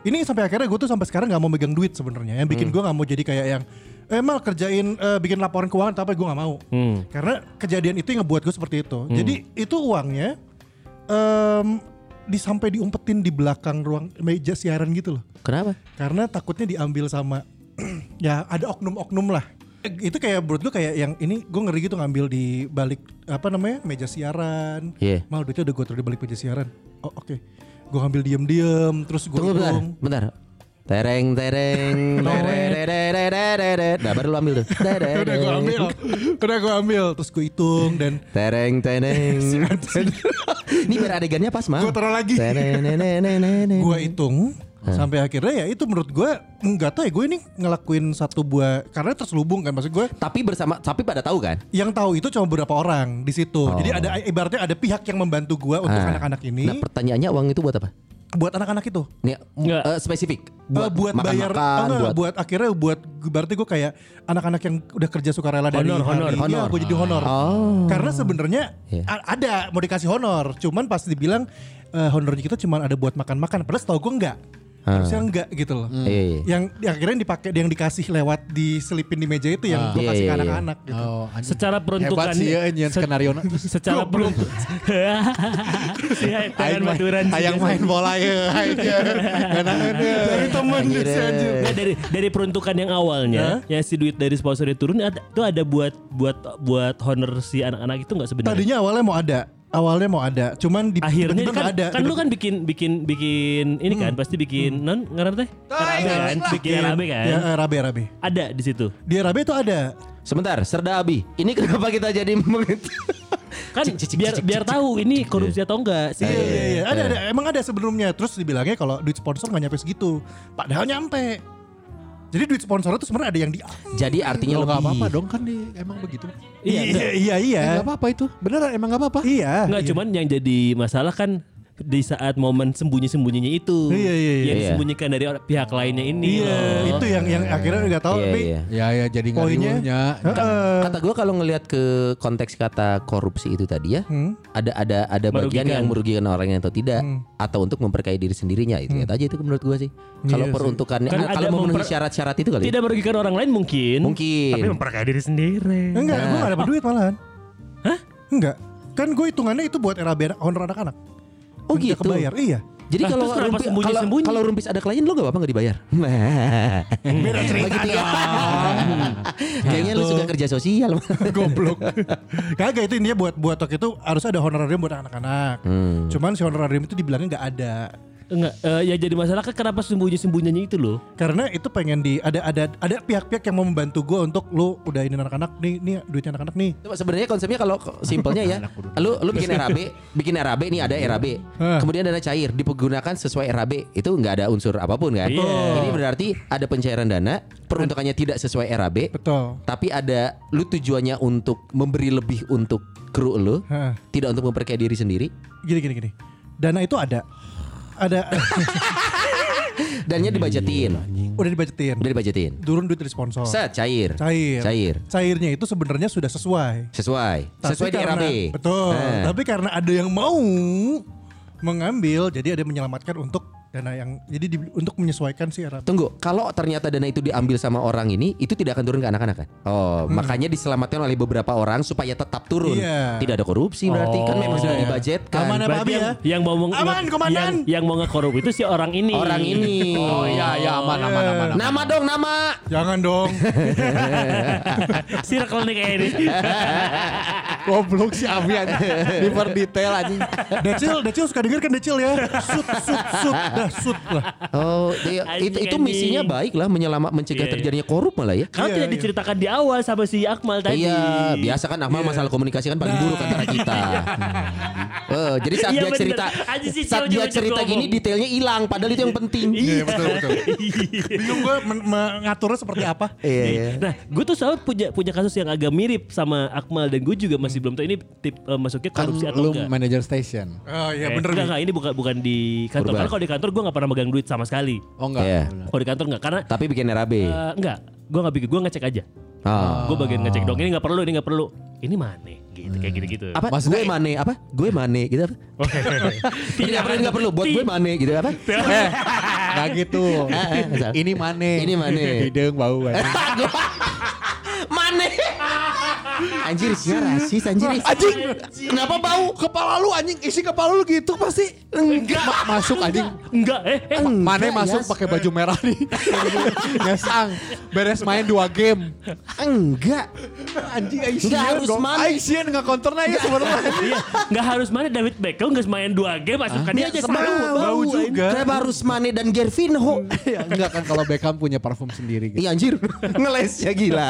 Speaker 3: Ini sampai akhirnya gue tuh sampai sekarang nggak mau megang duit sebenarnya. Yang bikin gue nggak mau jadi kayak yang eh mal kerjain eh, bikin laporan keuangan tapi gue nggak mau. Karena kejadian itu yang ngebuat gue seperti itu. Jadi itu uangnya em disampai diumpetin di belakang ruang meja siaran gitu loh
Speaker 4: Kenapa?
Speaker 3: karena takutnya diambil sama ya ada oknum-oknum lah itu kayak menurut gue kayak yang ini gue ngeri gitu ngambil di balik apa namanya meja siaran
Speaker 4: Iya.
Speaker 3: mal duitnya udah gue taruh di balik meja siaran oh oke gue ngambil diem-diem terus gue
Speaker 4: Tunggu bentar,
Speaker 3: hitung
Speaker 4: bentar. Tereng tereng terererererereret. Nah, baru lu ambil tuh. Terereng.
Speaker 3: udah gue ambil udah gue ambil terus gue hitung dan
Speaker 4: Tereng tereng. Ini biar adegannya pas mah.
Speaker 3: Gua taruh lagi. gue hitung sampai akhirnya ya itu menurut gue nggak tahu ya gue ini ngelakuin satu buah karena terselubung kan maksud gue
Speaker 4: Tapi bersama tapi pada tahu kan?
Speaker 3: yang tahu itu cuma beberapa orang di situ. Jadi ada
Speaker 4: Oh.
Speaker 3: ibaratnya ada pihak yang membantu gua untuk
Speaker 4: Ah.
Speaker 3: anak-anak ini,
Speaker 4: Nah, pertanyaannya uang itu buat apa?
Speaker 3: buat anak-anak itu.
Speaker 4: Nih,
Speaker 5: Nggak.
Speaker 4: eh, spesifik.
Speaker 3: Buat, buat
Speaker 4: makan
Speaker 3: bayar eh,
Speaker 4: makan,
Speaker 3: enggak,
Speaker 4: buat,
Speaker 3: buat, akhirnya buat berarti gua kayak anak-anak yang udah kerja sukarela dari
Speaker 5: Honor, honor,
Speaker 3: hari
Speaker 4: honor.
Speaker 3: gue jadi honor.
Speaker 4: Oh.
Speaker 3: Karena sebenarnya
Speaker 4: Iya.
Speaker 3: a- ada mau dikasih honor, cuman pas dibilang eh, honornya kita cuma ada buat makan-makan. Padahal setahu gua enggak. Harusnya enggak gitu loh.
Speaker 4: Ah. Iya, iya.
Speaker 3: Yang yang akhirnya dipakai yang dikasih lewat diselipin di meja itu yang gua
Speaker 4: Iya,
Speaker 3: kasih
Speaker 4: iya,
Speaker 3: ke
Speaker 4: iya.
Speaker 3: anak-anak gitu.
Speaker 2: Oh, anjing.
Speaker 5: Secara peruntukan
Speaker 2: Hebat sih ya nyian
Speaker 5: se-
Speaker 2: skenario
Speaker 5: secara peruntukan si hai, tangan maduran sih.
Speaker 2: Ayang main bola ya. aja. ya. Enak
Speaker 3: Dari temen dia sih, anjir.
Speaker 5: Nah, dari dari peruntukan yang awalnya ya si duit dari sponsor itu turun ada itu ada buat buat buat honor si anak-anak itu nggak sebenarnya
Speaker 3: Tadinya awalnya mau ada, awalnya mau ada, cuman di
Speaker 5: Iya. akhirnya
Speaker 3: tiba-tiba
Speaker 5: kan,
Speaker 3: nggak ada. gitu. Hmm.
Speaker 5: kan lu kan bikin bikin bikin ini kan pasti bikin non ngarang teh RAB kan bikin RAB kan
Speaker 3: Ya, eh, rabe rabe.
Speaker 5: ada di situ
Speaker 3: Di rabe itu ada.
Speaker 4: Sebentar, Serda Abi. Ini kenapa kita jadi meng-
Speaker 5: kan
Speaker 4: Cik, cik, cik,
Speaker 5: biar
Speaker 4: cik,
Speaker 5: biar
Speaker 4: cik,
Speaker 5: tahu
Speaker 4: cik,
Speaker 5: ini
Speaker 4: cik.
Speaker 5: korupsi atau enggak sih
Speaker 3: Iya iya iya, ada ada. Emang ada sebelumnya. Terus dibilangnya kalau duit sponsor nggak nyampe segitu, padahal nyampe. Jadi duit sponsor itu sebenarnya ada yang di.
Speaker 4: Jadi artinya
Speaker 2: Nggak
Speaker 4: lebih.
Speaker 2: apa-apa dong kan di emang begitu.
Speaker 5: Iya,
Speaker 3: iya iya iya.
Speaker 2: Enggak apa-apa itu. Beneran emang enggak apa-apa.
Speaker 3: Iya.
Speaker 5: Enggak
Speaker 3: iya.
Speaker 5: cuman yang jadi masalah kan di saat momen sembunyi-sembunyinya itu
Speaker 3: Iya, iya, iya.
Speaker 5: yang
Speaker 4: Iya.
Speaker 5: disembunyikan dari orang- pihak lainnya ini
Speaker 3: Iya,
Speaker 5: loh.
Speaker 3: itu yang yang akhirnya nggak tahu
Speaker 4: Iya,
Speaker 3: tapi
Speaker 4: iya.
Speaker 2: Ya ya jadi
Speaker 3: poinnya.
Speaker 2: ngariurnya.
Speaker 3: Heeh.
Speaker 4: Kata gue kalau ngelihat ke konteks kata korupsi itu tadi ya,
Speaker 3: Hmm?
Speaker 4: ada ada ada bagian
Speaker 5: Merugikan.
Speaker 4: yang merugikan orangnya atau tidak, atau untuk memperkaya diri sendirinya itu lihat aja itu menurut gue sih. Kalau
Speaker 3: Hmm. Iya sih.
Speaker 4: peruntukannya,
Speaker 5: Kan
Speaker 4: ah, kalau
Speaker 5: ada
Speaker 4: memenuhi
Speaker 5: memper-
Speaker 4: syarat-syarat itu kali, ya?
Speaker 5: tidak merugikan orang lain mungkin
Speaker 4: mungkin.
Speaker 5: Hmm? tapi memperkaya diri sendiri
Speaker 3: Enggak, gue gak dapat duit malahan. Hah? Enggak. Kan gue hitungannya itu buat RAB anak- honor anak-anak.
Speaker 4: Oh
Speaker 3: Nggak
Speaker 4: gitu.
Speaker 3: Kebayar, iya.
Speaker 4: Jadi
Speaker 5: Lah,
Speaker 4: kalau
Speaker 5: Nah, terus kenapa
Speaker 4: rumpi- kalau
Speaker 5: sembunyi-sembunyi? Nah.
Speaker 4: kalau rumpis ada klien lo gak apa-apa gak dibayar. Beda cerita Kayaknya lu
Speaker 5: Gitu.
Speaker 4: suka kerja sosial.
Speaker 3: Goblok. Kagak
Speaker 4: Hmm.
Speaker 3: itu intinya buat buat waktu itu harus ada honorarium buat anak-anak. Cuman si honorarium itu dibilangnya nggak ada.
Speaker 5: Enggak, eh, ya jadi masalah kan kenapa sembunyi-sembunyinya itu loh.
Speaker 3: Karena itu pengen di ada ada ada pihak-pihak yang mau membantu gue untuk lu udah ini anak-anak nih nih duitnya anak-anak nih.
Speaker 4: Coba sebenarnya konsepnya kalau ko- simpelnya ya, lu lu bikin RAB, bikin RAB nih ada RAB. Kemudian dana cair dipergunakan sesuai RAB. Itu nggak ada unsur apapun kan?
Speaker 5: Iya.
Speaker 4: Ini berarti ada pencairan dana, peruntukannya tidak sesuai RAB,
Speaker 3: Betul.
Speaker 4: tapi ada lu tujuannya untuk memberi lebih untuk kru lu,
Speaker 3: Heeh.
Speaker 4: tidak untuk memperkaya diri sendiri.
Speaker 3: Gini gini gini. Dana itu ada. Ada
Speaker 4: Dannya dibajetin.
Speaker 3: udah dibajetin.
Speaker 4: Udah dibajetin.
Speaker 3: Turun duit dari sponsor.
Speaker 4: Set cair.
Speaker 3: Oh. Cair.
Speaker 4: Cair.
Speaker 3: Cairnya itu sebenarnya sudah sesuai.
Speaker 4: Sesuai.
Speaker 3: Tapi
Speaker 4: sesuai di
Speaker 3: karena-
Speaker 4: RAB.
Speaker 3: Betul.
Speaker 4: Nah.
Speaker 3: Tapi karena ada yang mau mengambil, jadi ada yang menyelamatkan untuk dana yang jadi di- untuk menyesuaikan si RAB.
Speaker 4: Tunggu, kalau ternyata dana itu diambil sama orang ini, itu tidak akan turun ke anak-anak kan? Oh, makanya diselamatkan oleh beberapa orang supaya tetap turun.
Speaker 3: Iya.
Speaker 4: Tidak ada korupsi berarti kan memang sudah dibajetkan.
Speaker 3: Aman, Mana
Speaker 5: Berarti
Speaker 3: Babi
Speaker 5: yang,
Speaker 3: ya?
Speaker 5: yang mau meng-
Speaker 3: Aman,
Speaker 5: nge-
Speaker 3: komandan!
Speaker 5: yang, yang mau ngekorup itu si orang ini.
Speaker 4: Orang ini.
Speaker 2: Oh iya iya aman aman aman. aman.
Speaker 4: Nama dong nama.
Speaker 3: Jangan dong.
Speaker 5: Circle nih kayak ini.
Speaker 2: Goblok si Avian. Di per detail anjing.
Speaker 3: Decil, Decil suka denger kan Decil ya. Sut, sut, sut, dah sut lah.
Speaker 4: Oh, dia-
Speaker 5: Anjing,
Speaker 4: itu itu
Speaker 5: anjing.
Speaker 4: misinya baik lah menyelamat mencegah
Speaker 5: Iya, iya.
Speaker 4: terjadinya korup malah ya.
Speaker 5: Kalau
Speaker 3: Iya,
Speaker 5: tidak
Speaker 3: iya.
Speaker 5: diceritakan di awal sama si Akmal tadi.
Speaker 4: Iya, biasa kan Akmal masalah komunikasi kan paling buruk antara kita. Eh, jadi saat
Speaker 5: Iya,
Speaker 4: dia
Speaker 5: bener.
Speaker 4: cerita,
Speaker 5: Anjing sih,
Speaker 4: saat dia
Speaker 5: jauh-jauh
Speaker 4: cerita
Speaker 5: ngomong.
Speaker 4: gini detailnya hilang, padahal itu yang penting.
Speaker 1: Iya betul betul.
Speaker 3: Bingung gue men- mengaturnya seperti apa.
Speaker 4: Iya, iya.
Speaker 5: Nah, gue tuh selalu punya punya kasus yang agak mirip sama Akmal dan gue juga
Speaker 4: Hmm.
Speaker 5: masih belum tahu ini tip eh, masuknya
Speaker 2: Kan
Speaker 5: korupsi atau
Speaker 2: lu
Speaker 5: enggak.
Speaker 2: manajer station.
Speaker 3: Oh iya
Speaker 5: Eh,
Speaker 3: bener
Speaker 5: enggak,
Speaker 3: nih.
Speaker 5: enggak, ini bukan bukan di kantor.
Speaker 4: Urban.
Speaker 5: Karena kalau di kantor gue nggak pernah megang duit sama sekali.
Speaker 2: Oh enggak.
Speaker 4: Iya.
Speaker 2: benar.
Speaker 5: Kalau di kantor nggak, karena
Speaker 4: Tapi bikin RAB.
Speaker 5: eh, enggak, gue nggak bikin, gue ngecek aja.
Speaker 4: Ah.
Speaker 5: Gue bagian ngecek dong. Ini nggak perlu, ini nggak perlu. Ini mana? Gitu kayak gitu-gitu.
Speaker 4: Hmm. apa
Speaker 2: Maksudnya-
Speaker 4: gue mane apa gue mane gitu apa
Speaker 5: Iya.
Speaker 4: tidak perlu nggak perlu buat gue mane gitu apa
Speaker 2: Eh, enggak gitu. Ini mane.
Speaker 4: Ini mane.
Speaker 2: Hidung bau. eh. anjing.
Speaker 5: Iya.
Speaker 4: mane anjir sih rasis anjir
Speaker 2: Anjing.
Speaker 4: kenapa bau
Speaker 2: Kepala lu anjing isi kepala lu gitu pasti. Enggak. masuk anjing.
Speaker 5: Enggak, eh, eh.
Speaker 2: Mane
Speaker 4: Enggak,
Speaker 2: masuk
Speaker 4: Yas.
Speaker 2: pakai baju merah nih. Ngesang. Beres main dua game.
Speaker 4: enggak
Speaker 2: Anjing
Speaker 4: Nggak
Speaker 2: Aisyah
Speaker 4: harus
Speaker 2: dong.
Speaker 4: mane.
Speaker 2: Aisyah nggak konternya ya sebenarnya.
Speaker 5: Iya, nggak harus mana David Beckham nggak main dua game masukannya aja
Speaker 4: bau,
Speaker 5: sama.
Speaker 4: bau Iya.
Speaker 3: juga.
Speaker 4: kenapa harus mane dan Gervinho
Speaker 2: Ya, enggak kan kalau Beckham punya parfum sendiri gitu.
Speaker 4: Iya anjir ngelesnya gila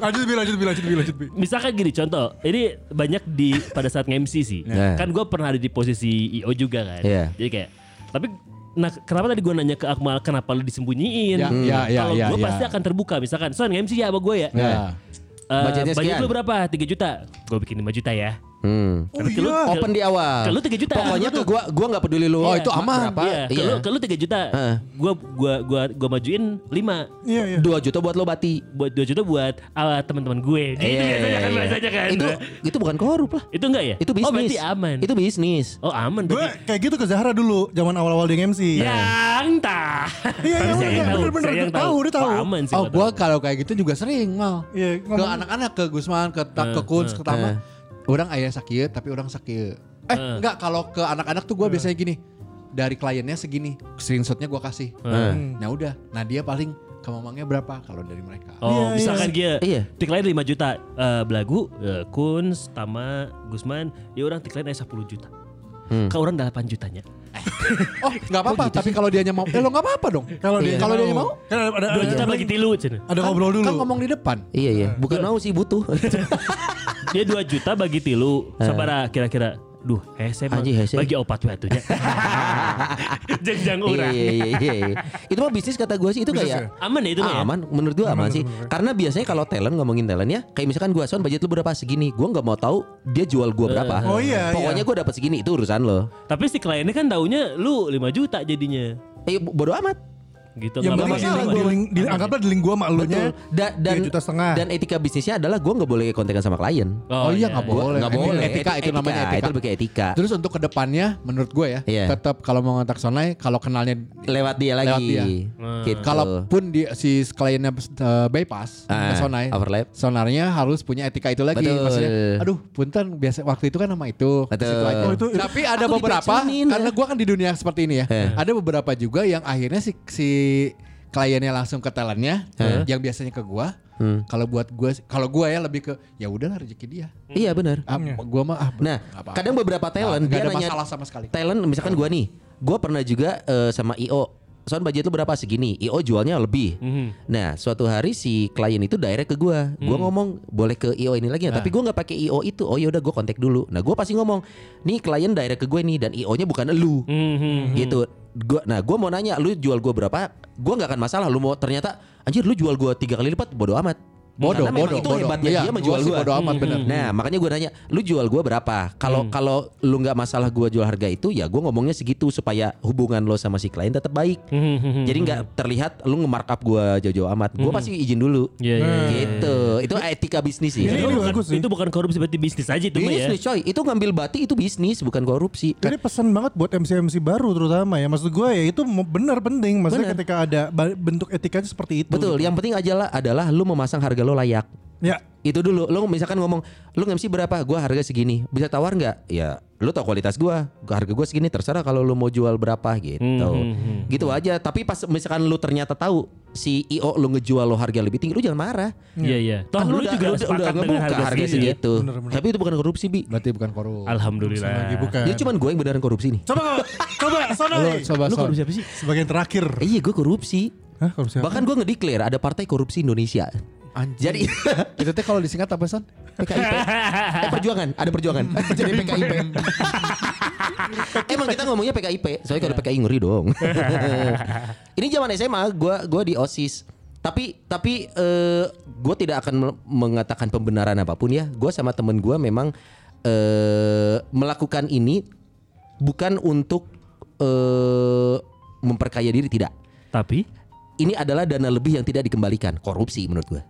Speaker 3: Lanjut bi, lanjut bi, lanjut bi, lanjut bi.
Speaker 5: Misalkan gini contoh, ini banyak di pada saat nge-MC sih.
Speaker 4: Nah.
Speaker 5: Kan gue pernah ada di posisi IO juga kan.
Speaker 4: Iya.
Speaker 5: Jadi kayak tapi nah kenapa tadi gue nanya ke Akmal kenapa lu disembunyiin?
Speaker 2: Ya, ya, ya,
Speaker 5: Kalau
Speaker 2: ya,
Speaker 5: gue
Speaker 2: ya.
Speaker 5: pasti akan terbuka misalkan, "Son, nge-MC ya sama gue ya."
Speaker 2: Ya.
Speaker 5: Eh,
Speaker 4: Budgetnya
Speaker 5: budget
Speaker 4: sekian.
Speaker 5: lu berapa? 3 juta. Gue bikin 5 juta ya.
Speaker 4: Hmm.
Speaker 3: Oh
Speaker 5: Karena ke lu-
Speaker 3: iya.
Speaker 4: open di awal
Speaker 5: Ke lu 3 juta.
Speaker 4: pokoknya ke gue gue nggak peduli lu
Speaker 2: Oh, itu aman.
Speaker 4: berapa
Speaker 5: Iya,
Speaker 4: iya.
Speaker 5: kalau kalau 3 juta,
Speaker 4: Heeh.
Speaker 5: gua gua gua gua majuin 5
Speaker 3: Iya, iya.
Speaker 4: dua juta buat lo bati
Speaker 5: buat 2 juta buat ah, teman-teman gue. Gitu
Speaker 4: Iya,
Speaker 5: biasanya kan
Speaker 4: iya.
Speaker 5: biasanya kan.
Speaker 4: itu itu bukan korup lah
Speaker 5: itu enggak ya?
Speaker 4: itu bisnis
Speaker 5: Oh, berarti aman.
Speaker 4: itu bisnis
Speaker 5: oh, aman
Speaker 3: Gue
Speaker 5: berarti.
Speaker 3: kayak gitu ke Zahra dulu, zaman awal-awal dia MC.
Speaker 5: Iya.
Speaker 4: Ya,
Speaker 5: Yang tah.
Speaker 3: Iya, iya,
Speaker 5: Saya yang
Speaker 3: bener,
Speaker 5: tahu,
Speaker 3: bener,
Speaker 5: saya yang
Speaker 3: dia tahu, dia tahu.
Speaker 5: Oh, aman sih.
Speaker 2: Oh
Speaker 5: gua
Speaker 2: gue
Speaker 5: tahu.
Speaker 2: kalau kayak gitu juga sering mal.
Speaker 3: Iya,
Speaker 2: ke
Speaker 3: ngomong-
Speaker 2: anak-anak ke Gusman ke Ta- ke Kunz ke Tama. Orang ayah sakit tapi orang sakit. Eh enggak kalau ke anak-anak
Speaker 3: Eh.
Speaker 2: tuh gue biasanya gini. Dari kliennya segini, screenshotnya gue kasih. Nah udah, nah dia paling ke mamangnya berapa kalau dari mereka.
Speaker 5: Oh,
Speaker 3: Iya,
Speaker 5: misalkan dia
Speaker 4: Iya.
Speaker 5: tik lain 5 juta, Eh, Belagu, eh, Kuns, Tama, Gusman, ya orang tik lain eh 10 juta.
Speaker 4: Hmm.
Speaker 5: Ke orang 8 jutanya.
Speaker 2: Oh nggak apa-apa, tapi kalau dianya mau, eh lo nggak apa-apa dong. Iya.
Speaker 3: Kalau dia
Speaker 2: kalau dia mau,
Speaker 3: kan ada ada,
Speaker 5: 2
Speaker 3: ada,
Speaker 5: juta bagi tilu cina.
Speaker 3: ada ngobrol dulu.
Speaker 2: kan ngomong di depan.
Speaker 4: Iya iya, bukan mau sih butuh. Iya,
Speaker 5: Dia 2 juta bagi tilu.
Speaker 4: Eh.
Speaker 5: Sabara kira-kira Duh, hese mah.
Speaker 4: Anjing, hese.
Speaker 5: bagi opat watunya. Jeng jang
Speaker 4: iya,
Speaker 5: urang.
Speaker 4: iya iya iya. Itu mah bisnis kata gue sih itu
Speaker 3: Bisnis
Speaker 4: kayak
Speaker 5: Aman ya itu mah ya?
Speaker 4: aman, menurut gue aman, sih. Karena biasanya kalau talent ngomongin talent ya, kayak misalkan gue son budget lu berapa segini, gue nggak mau tahu dia jual gue berapa.
Speaker 3: Oh, iya,
Speaker 4: Pokoknya
Speaker 3: iya.
Speaker 4: gue dapat segini itu urusan lo.
Speaker 5: Tapi si kliennya kan taunya lu 5 juta jadinya.
Speaker 4: Eh bo- bodo amat.
Speaker 5: Gitu nggak
Speaker 3: Yang penting
Speaker 5: apa-apa.
Speaker 3: sekarang gue link, di- anggaplah di link gue sama elunya
Speaker 4: Betul. Da- dan
Speaker 3: 3 juta setengah.
Speaker 4: dan etika bisnisnya adalah gue nggak boleh kontekan sama klien.
Speaker 2: Oh, iya nggak
Speaker 4: Gua-
Speaker 2: boleh.
Speaker 4: nggak
Speaker 2: Ini
Speaker 4: boleh.
Speaker 2: Etika itu
Speaker 4: Etika,
Speaker 2: namanya etika.
Speaker 4: itu lebih ke etika.
Speaker 2: Terus untuk kedepannya, menurut gue ya,
Speaker 4: Iya.
Speaker 2: tetap kalau mau ngontak online, kalau kenalnya,
Speaker 4: Lewat dia lagi.
Speaker 2: Lewat dia.
Speaker 4: Gitu.
Speaker 2: kalaupun di, si kliennya eh, bypass
Speaker 4: Ah,
Speaker 2: ke sonai,
Speaker 4: overlap.
Speaker 2: sonarnya harus punya etika itu lagi.
Speaker 4: Betul.
Speaker 2: Maksudnya, aduh, punten biasa waktu itu kan nama itu. ke
Speaker 4: Betul.
Speaker 2: situ aja.
Speaker 4: Oh,
Speaker 3: itu- itu-
Speaker 2: Tapi ada
Speaker 4: Aku
Speaker 2: beberapa,
Speaker 4: dipecunin,
Speaker 2: karena
Speaker 4: ya.
Speaker 2: gue kan di dunia seperti ini ya,
Speaker 4: Eh.
Speaker 2: ada beberapa juga yang akhirnya si, si kliennya langsung ke talentnya,
Speaker 4: Eh.
Speaker 2: yang biasanya ke gue.
Speaker 4: Hmm.
Speaker 2: Kalau buat gue, kalau gue ya lebih ke, ya udahlah rezeki dia.
Speaker 4: Iya benar.
Speaker 2: Ah, gue mah ah, nggak
Speaker 4: Nah,
Speaker 2: apa-apa.
Speaker 4: kadang beberapa talent
Speaker 2: Nggak
Speaker 4: dia
Speaker 2: ada
Speaker 4: nanya
Speaker 2: masalah sama sekali.
Speaker 4: Talent misalkan gua nih, Gue pernah juga eh, sama IO. Sound budget lu berapa segini? IO jualnya lebih. Nah, suatu hari si klien itu direct ke gua. Gua ngomong boleh ke IO ini lagi ya, tapi gua nggak pakai IO itu. Oh ya udah gua kontak dulu. Nah, gua pasti ngomong, "Nih klien direct ke gue nih dan IO-nya bukan elu."
Speaker 5: Hmm,
Speaker 4: Gitu. Gua nah, gua mau nanya lu jual gua berapa? Gua nggak akan masalah lu mau ternyata anjir lu jual gua tiga kali lipat bodo amat.
Speaker 2: Bodoh,
Speaker 4: Karena memang
Speaker 2: bodoh,
Speaker 4: itu
Speaker 2: bodoh.
Speaker 4: hebatnya
Speaker 2: Iya,
Speaker 4: dia
Speaker 2: gua
Speaker 4: menjual
Speaker 2: sih
Speaker 4: gua.
Speaker 2: bodoh amat, bener.
Speaker 4: Nah, makanya gue nanya, lu jual gue berapa? Kalau kalau lu nggak masalah gue jual harga itu, ya gue ngomongnya segitu supaya hubungan lo sama si klien tetap baik. Jadi nggak terlihat lu nge-markup gue jauh-jauh amat. Gue pasti izin dulu.
Speaker 5: Iya, iya, iya.
Speaker 4: Gitu. Itu etika bisnis sih.
Speaker 3: Ini-
Speaker 5: Itu
Speaker 3: ini
Speaker 5: bukan,
Speaker 3: bagus sih.
Speaker 5: itu bukan korupsi berarti bisnis aja itu mah ya.
Speaker 4: Bisnis coy, itu ngambil bati itu bisnis bukan korupsi.
Speaker 3: Ini pesan banget buat MC-MC baru terutama ya. Maksud gue ya itu mo- benar penting. Maksudnya
Speaker 4: Benar.
Speaker 3: ketika ada ba- bentuk etikanya seperti itu.
Speaker 4: Betul,
Speaker 5: gitu.
Speaker 4: yang penting aja lah adalah lu memasang harga lo layak.
Speaker 3: Ya.
Speaker 4: Itu dulu, lu misalkan ngomong, lu ngemsi berapa? Gua harga segini. Bisa tawar nggak? Ya, lu tau kualitas gua. Harga gua segini terserah kalau lu mau jual berapa gitu.
Speaker 5: Hmm,
Speaker 4: Gitu aja. Tapi pas misalkan lu ternyata tahu si IO lu ngejual lo harga lebih tinggi, lu jangan marah.
Speaker 5: Iya iya. Toh
Speaker 4: Ah,
Speaker 5: lu
Speaker 4: udah-
Speaker 5: juga
Speaker 4: udah- udah
Speaker 5: sepakat dengan
Speaker 4: ngebuka gitu.
Speaker 5: harga, segitu. ya?
Speaker 4: segitu. Tapi itu bukan korupsi, Bi.
Speaker 2: Berarti bukan korup.
Speaker 5: Alhamdulillah.
Speaker 3: Lagi bukan.
Speaker 4: Jadi cuman gue yang beneran korupsi nih.
Speaker 3: Coba coba sono.
Speaker 2: Lu coba
Speaker 5: Lu
Speaker 2: Son.
Speaker 5: korupsi apa sih?
Speaker 3: Sebagai yang terakhir.
Speaker 4: Eh, iya, gue korupsi.
Speaker 3: Hah, kalau siapa?
Speaker 4: Bahkan gue ngedeklar ada partai korupsi Indonesia.
Speaker 2: Anjing.
Speaker 4: Jadi
Speaker 2: Itu teh kalau disingkat apa San?
Speaker 4: PKIP. eh perjuangan, ada perjuangan. Jadi PKIP. Emang kita ngomongnya PKIP, soalnya kalau PKI ngeri dong. Ini zaman SMA, gua gua di OSIS. Tapi tapi eh, gua tidak akan mel- mengatakan pembenaran apapun ya. Gua sama temen gua memang eh melakukan ini bukan untuk eh memperkaya diri tidak.
Speaker 5: Tapi
Speaker 4: Ini adalah dana lebih yang tidak dikembalikan, korupsi menurut gua.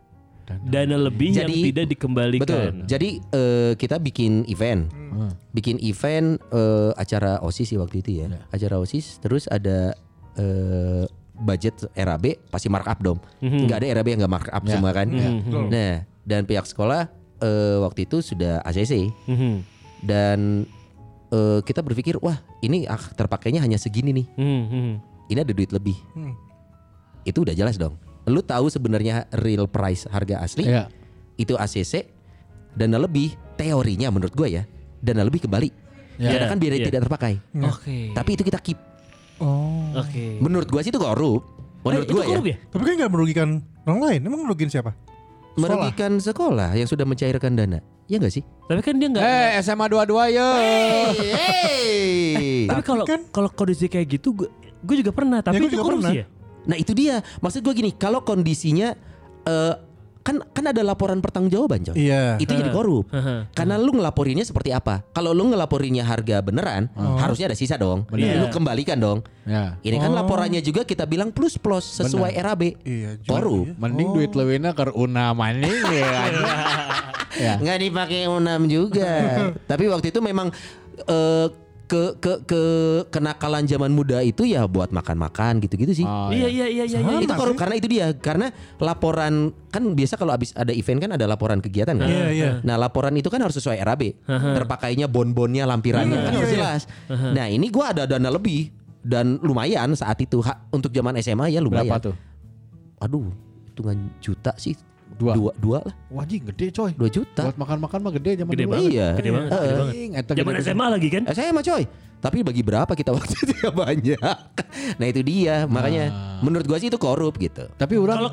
Speaker 5: dana lebih yang
Speaker 4: Jadi-
Speaker 5: tidak dikembalikan.
Speaker 4: Betul. Jadi eh, kita bikin event, bikin event eh, acara osis sih waktu itu ya, acara osis. Terus ada eh, budget RAB pasti markup dong. Nggak ada RAB yang nggak markup
Speaker 2: Ya.
Speaker 4: semua kan.
Speaker 2: Ya.
Speaker 4: Nah dan pihak sekolah eh, waktu itu sudah ACC
Speaker 5: Mhm.
Speaker 4: dan eh, kita berpikir wah ini ah, terpakainya hanya segini nih.
Speaker 5: Mhm, mhm.
Speaker 4: Ini ada duit lebih. Itu udah jelas dong. Lu tahu sebenarnya real price harga asli
Speaker 2: Iya.
Speaker 4: itu ACC dana lebih teorinya menurut gue ya dana lebih kembali
Speaker 5: Ya.
Speaker 4: karena kan biar
Speaker 5: Ya.
Speaker 4: tidak terpakai
Speaker 5: Oke.
Speaker 4: tapi itu kita keep
Speaker 5: Oke.
Speaker 4: menurut gue sih itu korup menurut
Speaker 5: Eh, itu
Speaker 4: gue ya
Speaker 5: korup ya?
Speaker 3: Oh. Tapi kan gak merugikan orang lain. Emang merugikan siapa?
Speaker 4: merugikan sekolah yang sudah mencairkan dana ya nggak sih
Speaker 5: Tapi kan dia nggak.
Speaker 2: Eh SMA 22 ya.
Speaker 4: hey.
Speaker 5: tapi kalau
Speaker 3: kan-
Speaker 5: kalau kondisi kayak gitu, gue gue juga pernah. Tapi
Speaker 3: gue
Speaker 5: itu
Speaker 3: juga
Speaker 5: korupsi
Speaker 3: pernah.
Speaker 5: ya.
Speaker 4: nah itu dia maksud gue gini kalau kondisinya eh, kan kan ada laporan pertanggungjawaban coy
Speaker 3: Iya.
Speaker 4: itu jadi korup
Speaker 5: Heeh.
Speaker 4: karena lu ngelaporinnya seperti apa kalau lu ngelaporinnya harga beneran harusnya ada sisa dong
Speaker 5: Oh. Bener.
Speaker 4: lu kembalikan dong
Speaker 2: Ya.
Speaker 4: Ini kan laporannya juga kita bilang plus plus sesuai RAB.
Speaker 3: Oh. Iya, juga
Speaker 4: Korup.
Speaker 3: iya.
Speaker 2: Mending duit lewina ke una maning ya. ya.
Speaker 4: Nggak dipakai unam juga. Tapi waktu itu memang eh, ke ke ke kenakalan zaman muda itu ya buat makan-makan gitu-gitu sih.
Speaker 2: Oh,
Speaker 3: Ah.
Speaker 5: Iya iya iya iya. iya.
Speaker 4: itu korup karena itu dia karena laporan kan biasa kalau habis ada event kan ada laporan kegiatan kan.
Speaker 3: Iya, iya.
Speaker 4: Nah laporan itu kan harus sesuai RAB. Terpakainya bon-bonnya, lampirannya
Speaker 3: Iya,
Speaker 4: kan harus jelas. Nah ini gua ada dana lebih dan lumayan saat itu Ha, untuk zaman SMA ya lumayan.
Speaker 2: Berapa tuh?
Speaker 4: aduh hitungan juta sih
Speaker 2: Dua.
Speaker 4: dua, dua lah
Speaker 2: Wajib gede coy.
Speaker 4: dua juta
Speaker 2: Buat makan-makan mah gede zaman
Speaker 5: Gede
Speaker 2: dulu.
Speaker 5: banget.
Speaker 4: iya
Speaker 5: Gede
Speaker 2: Eh,
Speaker 5: banget. Gede banget.
Speaker 2: Anjing, eta
Speaker 5: Zaman
Speaker 2: gede gede.
Speaker 5: SMA lagi kan?
Speaker 4: Eh, saya mah coy tapi bagi berapa kita waktu itu ya banyak nah itu dia makanya
Speaker 2: Nah.
Speaker 4: menurut gua sih itu korup gitu
Speaker 2: Tapi orang
Speaker 5: Kalau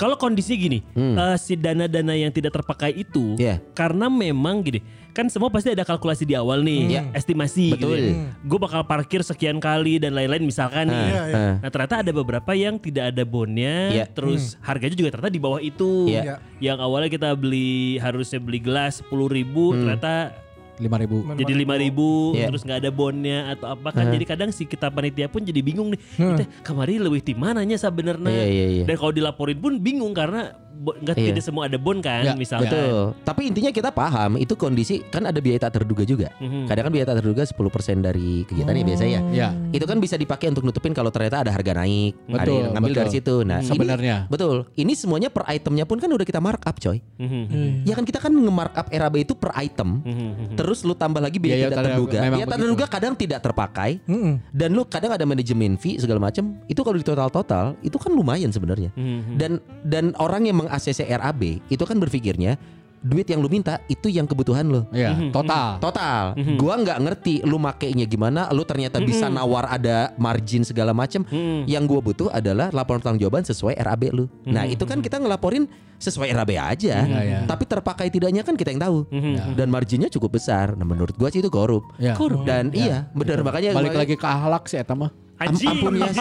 Speaker 5: kalau kondisinya gini, eh, si dana-dana yang tidak terpakai
Speaker 4: Hmm.
Speaker 5: itu,
Speaker 4: Iya.
Speaker 5: karena memang gini, kan semua pasti ada kalkulasi di awal nih,
Speaker 4: Iya.
Speaker 5: estimasi.
Speaker 4: Betul.
Speaker 5: Gue bakal parkir sekian kali dan lain-lain misalkan nih.
Speaker 3: Iya, iya.
Speaker 4: Ah.
Speaker 5: Nah ternyata ada beberapa yang tidak ada bonnya,
Speaker 4: Iya.
Speaker 5: terus
Speaker 3: Hmm.
Speaker 5: harganya juga ternyata di bawah itu.
Speaker 4: Iya.
Speaker 5: Yang awalnya kita beli harusnya beli gelas 10.000
Speaker 4: Hmm.
Speaker 5: ribu, ternyata
Speaker 2: 5000.
Speaker 5: jadi lima ribu
Speaker 4: Iya.
Speaker 5: terus nggak ada bonnya atau apa kan jadi kadang si kita panitia pun jadi bingung nih
Speaker 3: Iya.
Speaker 5: kita kemarin lebih di mananya sebenarnya
Speaker 4: Iya, iya, iya.
Speaker 5: dan kalau dilaporin pun bingung karena bo- nggak
Speaker 4: Iya.
Speaker 5: tidak semua ada bon
Speaker 2: Ya,
Speaker 5: kan misalkan
Speaker 4: Betul. Tapi intinya kita paham itu kondisi kan ada biaya tak terduga juga.
Speaker 2: Mhm.
Speaker 4: Kadang kan biaya tak terduga 10% dari kegiatannya biasanya
Speaker 2: Ya.
Speaker 4: ya. Itu kan bisa dipakai untuk nutupin kalau ternyata ada harga naik. ada
Speaker 2: Betul,
Speaker 4: yang ngambil dari
Speaker 2: betul. Mhm.
Speaker 4: situ. Nah, ini-
Speaker 2: Sebenarnya.
Speaker 4: betul. Ini semuanya per itemnya pun kan udah kita markup, coy.
Speaker 5: Mhm.
Speaker 3: Iya.
Speaker 2: Iya.
Speaker 4: Ya kan kita kan nge-markup RAB itu per item.
Speaker 2: Hmm.
Speaker 4: Terus lu tambah lagi
Speaker 2: Biaya
Speaker 4: biaya tidak
Speaker 2: tak-
Speaker 4: terduga.
Speaker 2: iya, memang
Speaker 4: Biaya tak
Speaker 2: begitu.
Speaker 4: terduga kadang tidak terpakai.
Speaker 3: Mm-mm.
Speaker 4: Dan lu kadang ada manajemen fee segala macam. Itu kalau di total-total
Speaker 2: Hmm.
Speaker 5: mhm,
Speaker 4: itu kan lumayan sebenarnya. Dan dan orang yang meng-ACC RAB itu kan berpikirnya duit yang lu minta itu yang kebutuhan lo.
Speaker 2: Iya,
Speaker 4: Hmm.
Speaker 2: total.
Speaker 4: Total,
Speaker 2: Hmm.
Speaker 4: gua nggak ngerti lu makainya gimana, lu ternyata bisa nawar ada margin segala macem.
Speaker 2: Hmm.
Speaker 5: mhm.
Speaker 4: Yang gua butuh adalah laporan pertanggungjawaban sesuai RAB lu. Nah, itu kan kita ngelaporin sesuai RAB
Speaker 2: Hmm.
Speaker 4: aja.
Speaker 2: Iya, Hmm. iya.
Speaker 4: Tapi terpakai tidaknya kan kita yang tahu. Dan marginnya cukup besar. Nah, menurut gua sih itu korup.
Speaker 2: Iya. Korup.
Speaker 4: Dan iya, bener makanya
Speaker 2: Gitu. Balik lagi ke akhlak sih Eta mah.
Speaker 5: Anjing.
Speaker 4: ampun ya.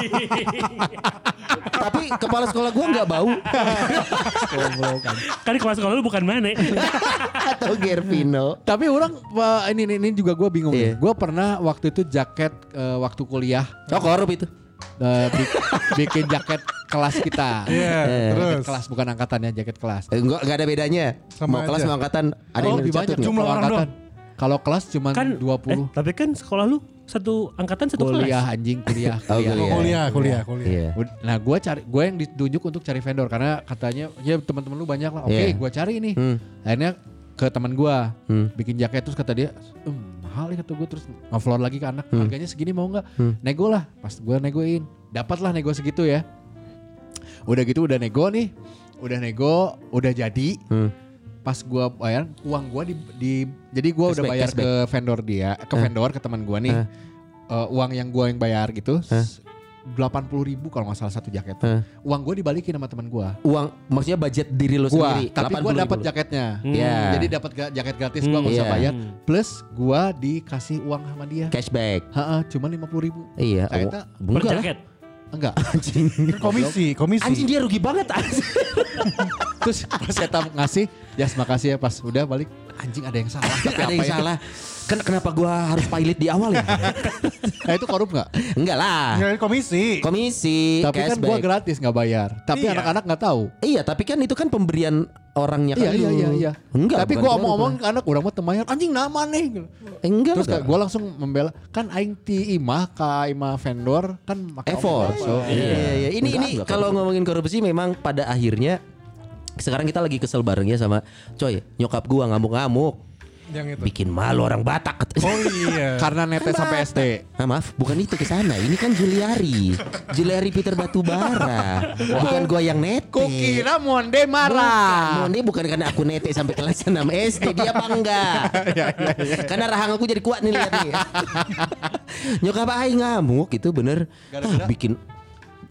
Speaker 4: tapi kepala sekolah gua nggak bau
Speaker 5: kan kelas sekolah lu bukan mana.
Speaker 4: Kan atau Gervino.
Speaker 2: Tapi orang eh, ini ini, ini juga gue bingung. nih.
Speaker 4: Iya.
Speaker 2: Gue pernah waktu itu jaket eh, waktu kuliah
Speaker 4: Oh, korup itu.
Speaker 2: eh, bi- bikin jaket kelas kita.
Speaker 3: Iya,
Speaker 2: Jaket
Speaker 3: terus.
Speaker 2: kelas bukan angkatannya jaket kelas.
Speaker 4: Eh, Enggak, enggak ada bedanya.
Speaker 3: Sama
Speaker 4: mau kelas
Speaker 3: aja.
Speaker 4: mau angkatan ada
Speaker 2: Oh,
Speaker 4: yang
Speaker 2: lebih banyak
Speaker 4: dicatat nggak?
Speaker 3: Jumlah
Speaker 2: kalau
Speaker 3: orang
Speaker 2: angkatan. Kalau kelas cuman
Speaker 5: kan
Speaker 2: 20.
Speaker 5: eh, tapi kan sekolah lu satu angkatan satu
Speaker 2: kuliah
Speaker 5: kelas.
Speaker 2: anjing kuliah
Speaker 4: Oh,
Speaker 2: kuliah.
Speaker 4: Iya.
Speaker 3: kuliah, kuliah, kuliah.
Speaker 4: Iya.
Speaker 2: Ud- Nah, gue cari, gue yang ditunjuk untuk cari vendor karena katanya ya teman-teman lu banyak lah. Oke,
Speaker 4: Iya.
Speaker 2: gue cari nih.
Speaker 4: Hmm.
Speaker 2: Akhirnya ke teman gue
Speaker 4: Hmm.
Speaker 2: bikin jaket terus kata dia "Em, mahal ya kata gue terus ngefloor lagi ke anak
Speaker 4: Hmm.
Speaker 2: harganya segini mau nggak nego lah pas gue negoin dapatlah nego segitu ya udah gitu udah nego nih udah nego udah jadi
Speaker 4: Hmm.
Speaker 2: pas gue bayar uang gue di, di- jadi gue udah
Speaker 4: Cashback,
Speaker 2: bayar
Speaker 4: cashback.
Speaker 2: ke vendor dia ke vendor ke teman gue nih
Speaker 4: Eh.
Speaker 2: Eh, uang yang gue yang bayar gitu delapan puluh ribu kalau nggak salah satu jaket
Speaker 4: Eh.
Speaker 2: uang gue dibalikin sama teman gue
Speaker 4: Uang maksudnya budget diri lu
Speaker 2: gua
Speaker 4: sendiri.
Speaker 2: tapi gue
Speaker 4: 80.000.
Speaker 2: dapat jaketnya
Speaker 4: Iya.
Speaker 2: jadi dapat ga- jaket gratis gue nggak usah
Speaker 4: Iya.
Speaker 2: bayar plus gue dikasih uang sama dia
Speaker 4: cashback.
Speaker 2: Heeh, cuma lima puluh ribu
Speaker 4: Iya.
Speaker 2: Nah, itu-
Speaker 5: Per
Speaker 4: Enggak lah.
Speaker 5: jaket.
Speaker 2: enggak
Speaker 4: Anjing.
Speaker 3: Kan Komisi, komisi.
Speaker 4: Anjing dia rugi banget anjing.
Speaker 2: terus pas saya tam- ngasih ya makasih ya pas udah balik anjing ada yang salah tapi
Speaker 4: Ada
Speaker 2: apa
Speaker 4: yang
Speaker 2: ya?
Speaker 4: salah. Ken- kenapa gua harus pilot di awal ya?
Speaker 2: nah itu korup nggak
Speaker 4: Enggak lah.
Speaker 3: Nyari komisi.
Speaker 4: Komisi,
Speaker 2: tapi kan gue
Speaker 4: cashback.
Speaker 2: gratis nggak bayar tapi
Speaker 3: Iya.
Speaker 2: anak-anak nggak tahu
Speaker 4: Iya, tapi kan itu kan pemberian orangnya
Speaker 2: Iya
Speaker 4: kan
Speaker 2: iya
Speaker 4: lu.
Speaker 2: iya iya.
Speaker 4: Enggak.
Speaker 2: Tapi
Speaker 4: bukan
Speaker 2: gua
Speaker 4: gua,
Speaker 2: omong-omong
Speaker 4: bukan.
Speaker 2: ke anak orang mah temayar anjing nama nih.
Speaker 4: enggak.
Speaker 2: Terus
Speaker 4: enggak.
Speaker 2: kayak gua langsung membela kan aing ti imah ka imah vendor kan make
Speaker 4: effort.
Speaker 2: omong-omong. So,
Speaker 4: Iya, iya, iya. Ini Enggak,
Speaker 5: Enggak,
Speaker 4: ini
Speaker 5: enggak
Speaker 4: kalau ngomongin korupsi memang pada akhirnya sekarang kita lagi kesel bareng ya sama coy nyokap gua ngamuk-ngamuk
Speaker 3: Yang
Speaker 2: Gitu.
Speaker 3: itu.
Speaker 4: bikin malu orang Batak
Speaker 3: Oh iya.
Speaker 2: Karena netes sampai ST.
Speaker 4: Ah, maaf, bukan itu ke sana. Ini kan Juliari. Juliari Peter Batubara. Bukan gua yang nete.
Speaker 2: Kukira Monde marah.
Speaker 4: Bukan, Mondi bukan karena aku nete sampai kelas 6 SD Dia bangga Karena rahang aku jadi kuat nih lihat nih Nyokap Aing ngamuk gitu bener ah, Bikin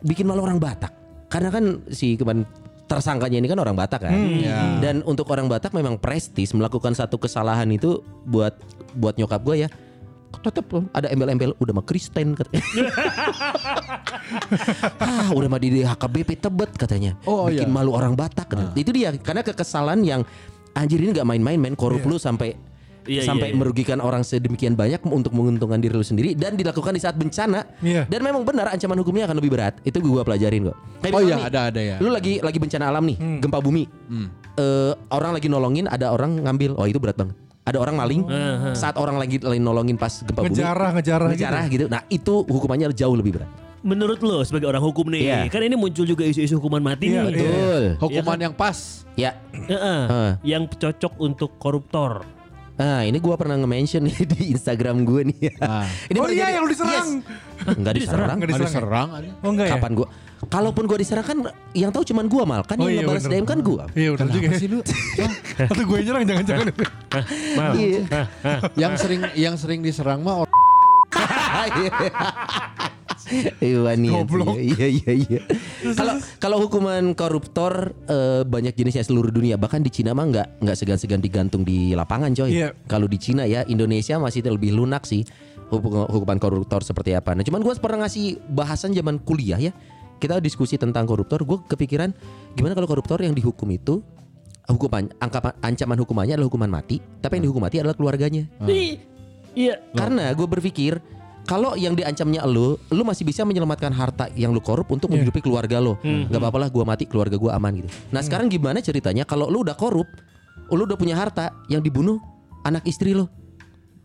Speaker 4: bikin malu orang Batak Karena kan si kemarin tersangkanya ini kan orang Batak kan
Speaker 2: Iya.
Speaker 4: Dan untuk orang Batak memang prestis Melakukan satu kesalahan itu buat buat nyokap gue ya tetep loh, ada embel-embel udah mah Kristen katanya. ah, udah mah di HKBP Tebet katanya.
Speaker 2: Oh, iya.
Speaker 4: bikin
Speaker 2: Ah.
Speaker 4: malu orang Batak. Itu dia karena kekesalan yang anjir ini nggak main-main main korup lu sampai
Speaker 5: Iya,
Speaker 4: sampai
Speaker 5: iya, iya.
Speaker 4: merugikan orang sedemikian banyak untuk menguntungkan diri lu sendiri dan dilakukan di saat bencana.
Speaker 3: Iya.
Speaker 4: Dan memang benar ancaman hukumnya akan lebih berat. Itu gua pelajarin kok. Kayak
Speaker 2: Oh
Speaker 4: misalnya
Speaker 2: iya
Speaker 4: nih,
Speaker 2: ada ada ya. Hmm.
Speaker 4: Lu lagi lagi bencana alam nih, gempa bumi. Eh, orang lagi nolongin, ada orang ngambil. Oh, itu berat banget. Ada orang maling.
Speaker 5: Hmm,
Speaker 4: Saat orang lagi lagi nolongin pas gempa
Speaker 3: Ngejarah,
Speaker 4: bumi.
Speaker 3: ngejarah
Speaker 4: ngejarah gitu. Nah, itu hukumannya jauh lebih berat.
Speaker 5: Menurut lo sebagai orang hukum nih,
Speaker 4: Iya.
Speaker 5: kan ini muncul juga isu-isu hukuman mati
Speaker 3: Iya,
Speaker 5: nih.
Speaker 3: iya.
Speaker 4: Betul.
Speaker 2: Hukuman yang pas.
Speaker 4: Ya.
Speaker 5: Heeh.
Speaker 4: Heeh.
Speaker 5: Yang cocok untuk koruptor.
Speaker 4: Ah, ini gua pernah nge-mention nih di Instagram gua nih.
Speaker 2: Ah.
Speaker 4: ini pernah
Speaker 3: Oh iya
Speaker 4: jadi-
Speaker 3: yang lu diserang.
Speaker 4: Yes. Enggak diserang.
Speaker 3: Nggak
Speaker 2: Ada
Speaker 3: diserang ya?
Speaker 2: serang ada.
Speaker 3: Oh enggak ya?
Speaker 4: Kapan gua? Kalaupun gua diserang kan yang tahu cuman gua mal. Kan
Speaker 3: Oh
Speaker 4: yang
Speaker 3: iya
Speaker 4: ngebales DM
Speaker 3: bener.
Speaker 4: kan gua.
Speaker 3: Iya udah juga.
Speaker 2: Kenapa
Speaker 3: ya.
Speaker 2: sih lu? Wah,
Speaker 3: Atau gue yang nyerang jangan-jangan.
Speaker 5: Mal.
Speaker 4: Iya.
Speaker 3: Nah.
Speaker 2: yang sering yang sering diserang mah or-
Speaker 4: Iya nih.
Speaker 3: Goblok.
Speaker 4: Iya iya iya. Kalau kalau hukuman koruptor eh, banyak jenisnya seluruh dunia. Bahkan di Cina mah nggak nggak segan-segan digantung di lapangan coy.
Speaker 3: Iya.
Speaker 4: Kalau di Cina ya Indonesia masih lebih lunak sih hukum- hukuman koruptor seperti apa. Nah cuman gue pernah ngasih bahasan zaman kuliah ya. Kita diskusi tentang koruptor. Gue kepikiran gimana kalau koruptor yang dihukum itu hukuman angkapan ancaman hukumannya adalah hukuman mati. Tapi yang dihukum mati adalah keluarganya.
Speaker 3: Ah.
Speaker 5: Ih, Iya.
Speaker 4: Karena gue berpikir kalau yang diancamnya lo, lo masih bisa menyelamatkan harta yang lo korup untuk
Speaker 3: Iya.
Speaker 4: menghidupi keluarga lo.
Speaker 3: Hmm,
Speaker 4: Gak apa-apa lah gue mati, keluarga gue aman gitu. Nah sekarang gimana ceritanya kalau lo udah korup, lo udah punya harta yang dibunuh anak istri lo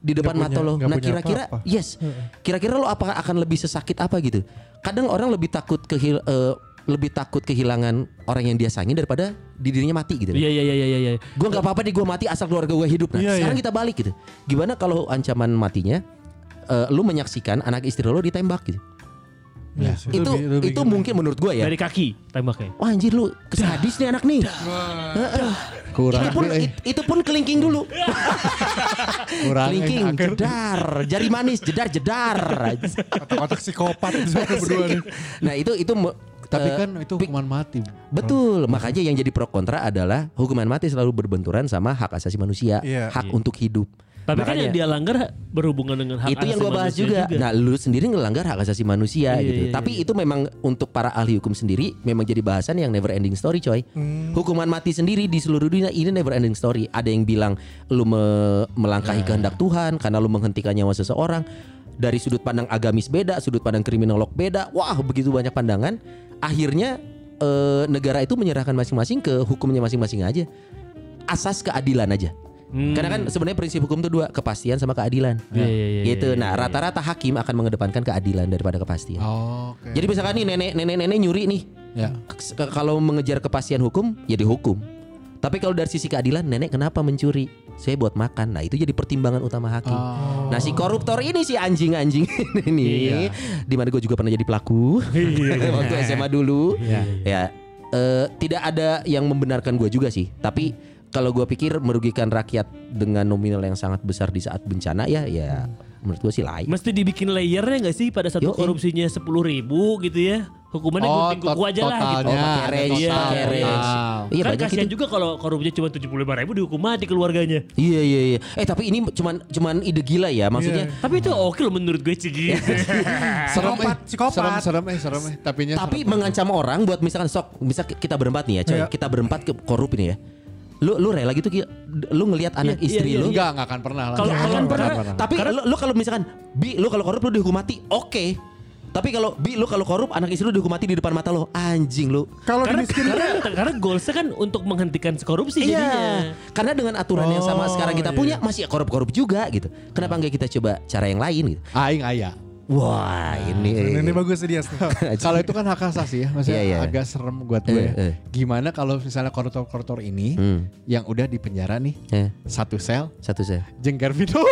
Speaker 4: di depan
Speaker 3: punya-
Speaker 4: mata lo.
Speaker 3: nggak
Speaker 4: Nah
Speaker 3: punya
Speaker 4: kira-kira
Speaker 3: apa-apa. Hmm.
Speaker 4: yes, kira-kira lo apa akan lebih sesakit apa gitu? Kadang orang lebih takut kehil eh, lebih takut kehilangan orang yang dia sayangi daripada di dirinya mati gitu.
Speaker 5: Iya, iya, iya, iya, iya.
Speaker 4: Gue nggak apa-apa deh gue mati asal keluarga gue hidup. Nah,
Speaker 3: Iya,
Speaker 4: sekarang
Speaker 3: iya.
Speaker 4: kita balik gitu. Gimana kalau ancaman matinya eh, lu menyaksikan anak istri lu ditembak gitu.
Speaker 3: Iya sih.
Speaker 4: Itu
Speaker 3: Lebih- lebih
Speaker 4: itu
Speaker 3: gimana?
Speaker 4: mungkin menurut gue ya.
Speaker 5: Dari kaki tembaknya.
Speaker 4: Wah anjir lu kesadis nih anak nih. Heeh.
Speaker 2: Kurang
Speaker 4: Itu pun
Speaker 2: eh,
Speaker 4: it- itu pun kelingking dulu.
Speaker 2: kurang
Speaker 4: kelingking,
Speaker 2: akhir.
Speaker 4: jedar, jari manis, jedar, jedar.
Speaker 3: Kotak-kotak psikopat itu berdua nih.
Speaker 4: nah itu itu me-
Speaker 2: Tapi
Speaker 4: eh,
Speaker 2: kan itu
Speaker 4: pi-
Speaker 2: hukuman mati.
Speaker 4: Betul, makanya yang jadi pro kontra adalah hukuman mati selalu berbenturan sama hak asasi manusia,
Speaker 3: Iya.
Speaker 4: hak untuk hidup.
Speaker 5: Tapi kan
Speaker 4: Makanya-
Speaker 5: yang dia langgar berhubungan dengan hak
Speaker 4: itu yang
Speaker 5: asasi
Speaker 4: gue bahas
Speaker 5: manusia
Speaker 4: juga. Nah, lu sendiri ngelanggar hak asasi manusia
Speaker 5: Iya,
Speaker 4: gitu.
Speaker 5: iya,
Speaker 4: Tapi
Speaker 5: iya.
Speaker 4: itu memang untuk para ahli hukum sendiri memang jadi bahasan yang never ending story, coy. Hukuman mati sendiri di seluruh dunia ini never ending story. Ada yang bilang lu me-
Speaker 5: Nah.
Speaker 4: melangkahi kehendak Tuhan karena lu menghentikan nyawa seseorang. Dari sudut pandang agamis beda, sudut pandang kriminolog beda. Wah, begitu banyak pandangan. Akhirnya eh, negara itu menyerahkan masing-masing ke hukumnya masing-masing aja. Asas keadilan aja. Karena kan sebenarnya prinsip hukum itu dua, kepastian sama keadilan
Speaker 5: Hmm. Iya, iya, iya,
Speaker 4: gitu.
Speaker 5: iya,
Speaker 4: Nah, rata-rata hakim akan mengedepankan keadilan daripada kepastian.
Speaker 2: Oh, oke.
Speaker 4: Jadi misalkan nih nenek nenek nenek nyuri nih,
Speaker 2: Ya.
Speaker 4: K- kalau mengejar kepastian hukum, ya dihukum. Tapi kalau dari sisi keadilan, nenek kenapa mencuri? Saya buat makan. Nah, itu jadi pertimbangan utama hakim. Nah, si koruptor ini si anjing-anjing ini nih, dimana gue juga pernah jadi pelaku waktu SMA dulu. Ya, eh, tidak ada yang membenarkan gue juga sih. Tapi kalau gue pikir merugikan rakyat dengan nominal yang sangat besar di saat bencana ya, ya menurut gue sih lain.
Speaker 5: Mesti dibikin layernya gak sih pada satu
Speaker 4: Yoi.
Speaker 5: korupsinya sepuluh ribu gitu ya Hukumannya
Speaker 2: Oh,
Speaker 5: gunting kuku
Speaker 2: tot-
Speaker 5: aja lah gitu
Speaker 2: totalnya.
Speaker 4: Oh, pakai
Speaker 2: ada
Speaker 4: range,
Speaker 5: total,
Speaker 4: pakai
Speaker 5: total.
Speaker 4: range. Iya
Speaker 5: Kan
Speaker 4: banyak
Speaker 5: kasihan
Speaker 4: itu.
Speaker 5: juga kalau korupsinya cuma tujuh puluh ribu dihukum mati keluarganya
Speaker 4: Iya iya iya. Eh tapi ini cuman cuman ide gila ya maksudnya.
Speaker 5: Tapi itu oke loh menurut gue Cigi
Speaker 2: Serem eh.
Speaker 3: Psikopat, psikopat.
Speaker 2: Serem, serem eh, serem eh. Tapinya
Speaker 4: Tapi
Speaker 2: serem.
Speaker 4: mengancam orang buat misalkan sok bisa kita berempat nih ya, coy.
Speaker 3: Iya.
Speaker 4: Kita berempat ke korup ini ya. Lu lu rela gitu Ki? lu ngelihat anak
Speaker 5: Iya,
Speaker 4: istri
Speaker 5: iya,
Speaker 4: lu.
Speaker 2: enggak enggak akan pernah lah.
Speaker 5: Kalau-
Speaker 2: Enggak
Speaker 5: kalau
Speaker 2: akan
Speaker 5: pernah,
Speaker 4: Tapi lu, lu kalau misalkan bi lu kalau korup lu dihukum mati, oke. Tapi kalau bi lu kalau korup anak istri lu dihukum mati di depan mata lo, anjing lu.
Speaker 3: Kalau
Speaker 5: karena,
Speaker 3: dimiskinkan
Speaker 5: karena, karena goalsnya kan untuk menghentikan korupsi jadinya
Speaker 4: Iya, karena dengan aturan yang sama
Speaker 3: Oh,
Speaker 4: sekarang kita
Speaker 3: iya,
Speaker 4: punya masih ya korup-korup juga gitu. Kenapa nggak kita coba cara yang lain gitu?
Speaker 2: aing aya.
Speaker 4: Wah ini,
Speaker 3: Ini bagus sih dia.
Speaker 2: Kalau itu kan hak asasi ya, maksudnya
Speaker 4: Iya, iya.
Speaker 2: agak serem buat gue.
Speaker 4: Eh, eh.
Speaker 2: Gimana kalau misalnya koruptor-koruptor ini
Speaker 4: Hmm.
Speaker 2: yang udah di penjara nih
Speaker 4: Eh,
Speaker 2: satu sel
Speaker 4: satu saya.
Speaker 2: jengker video.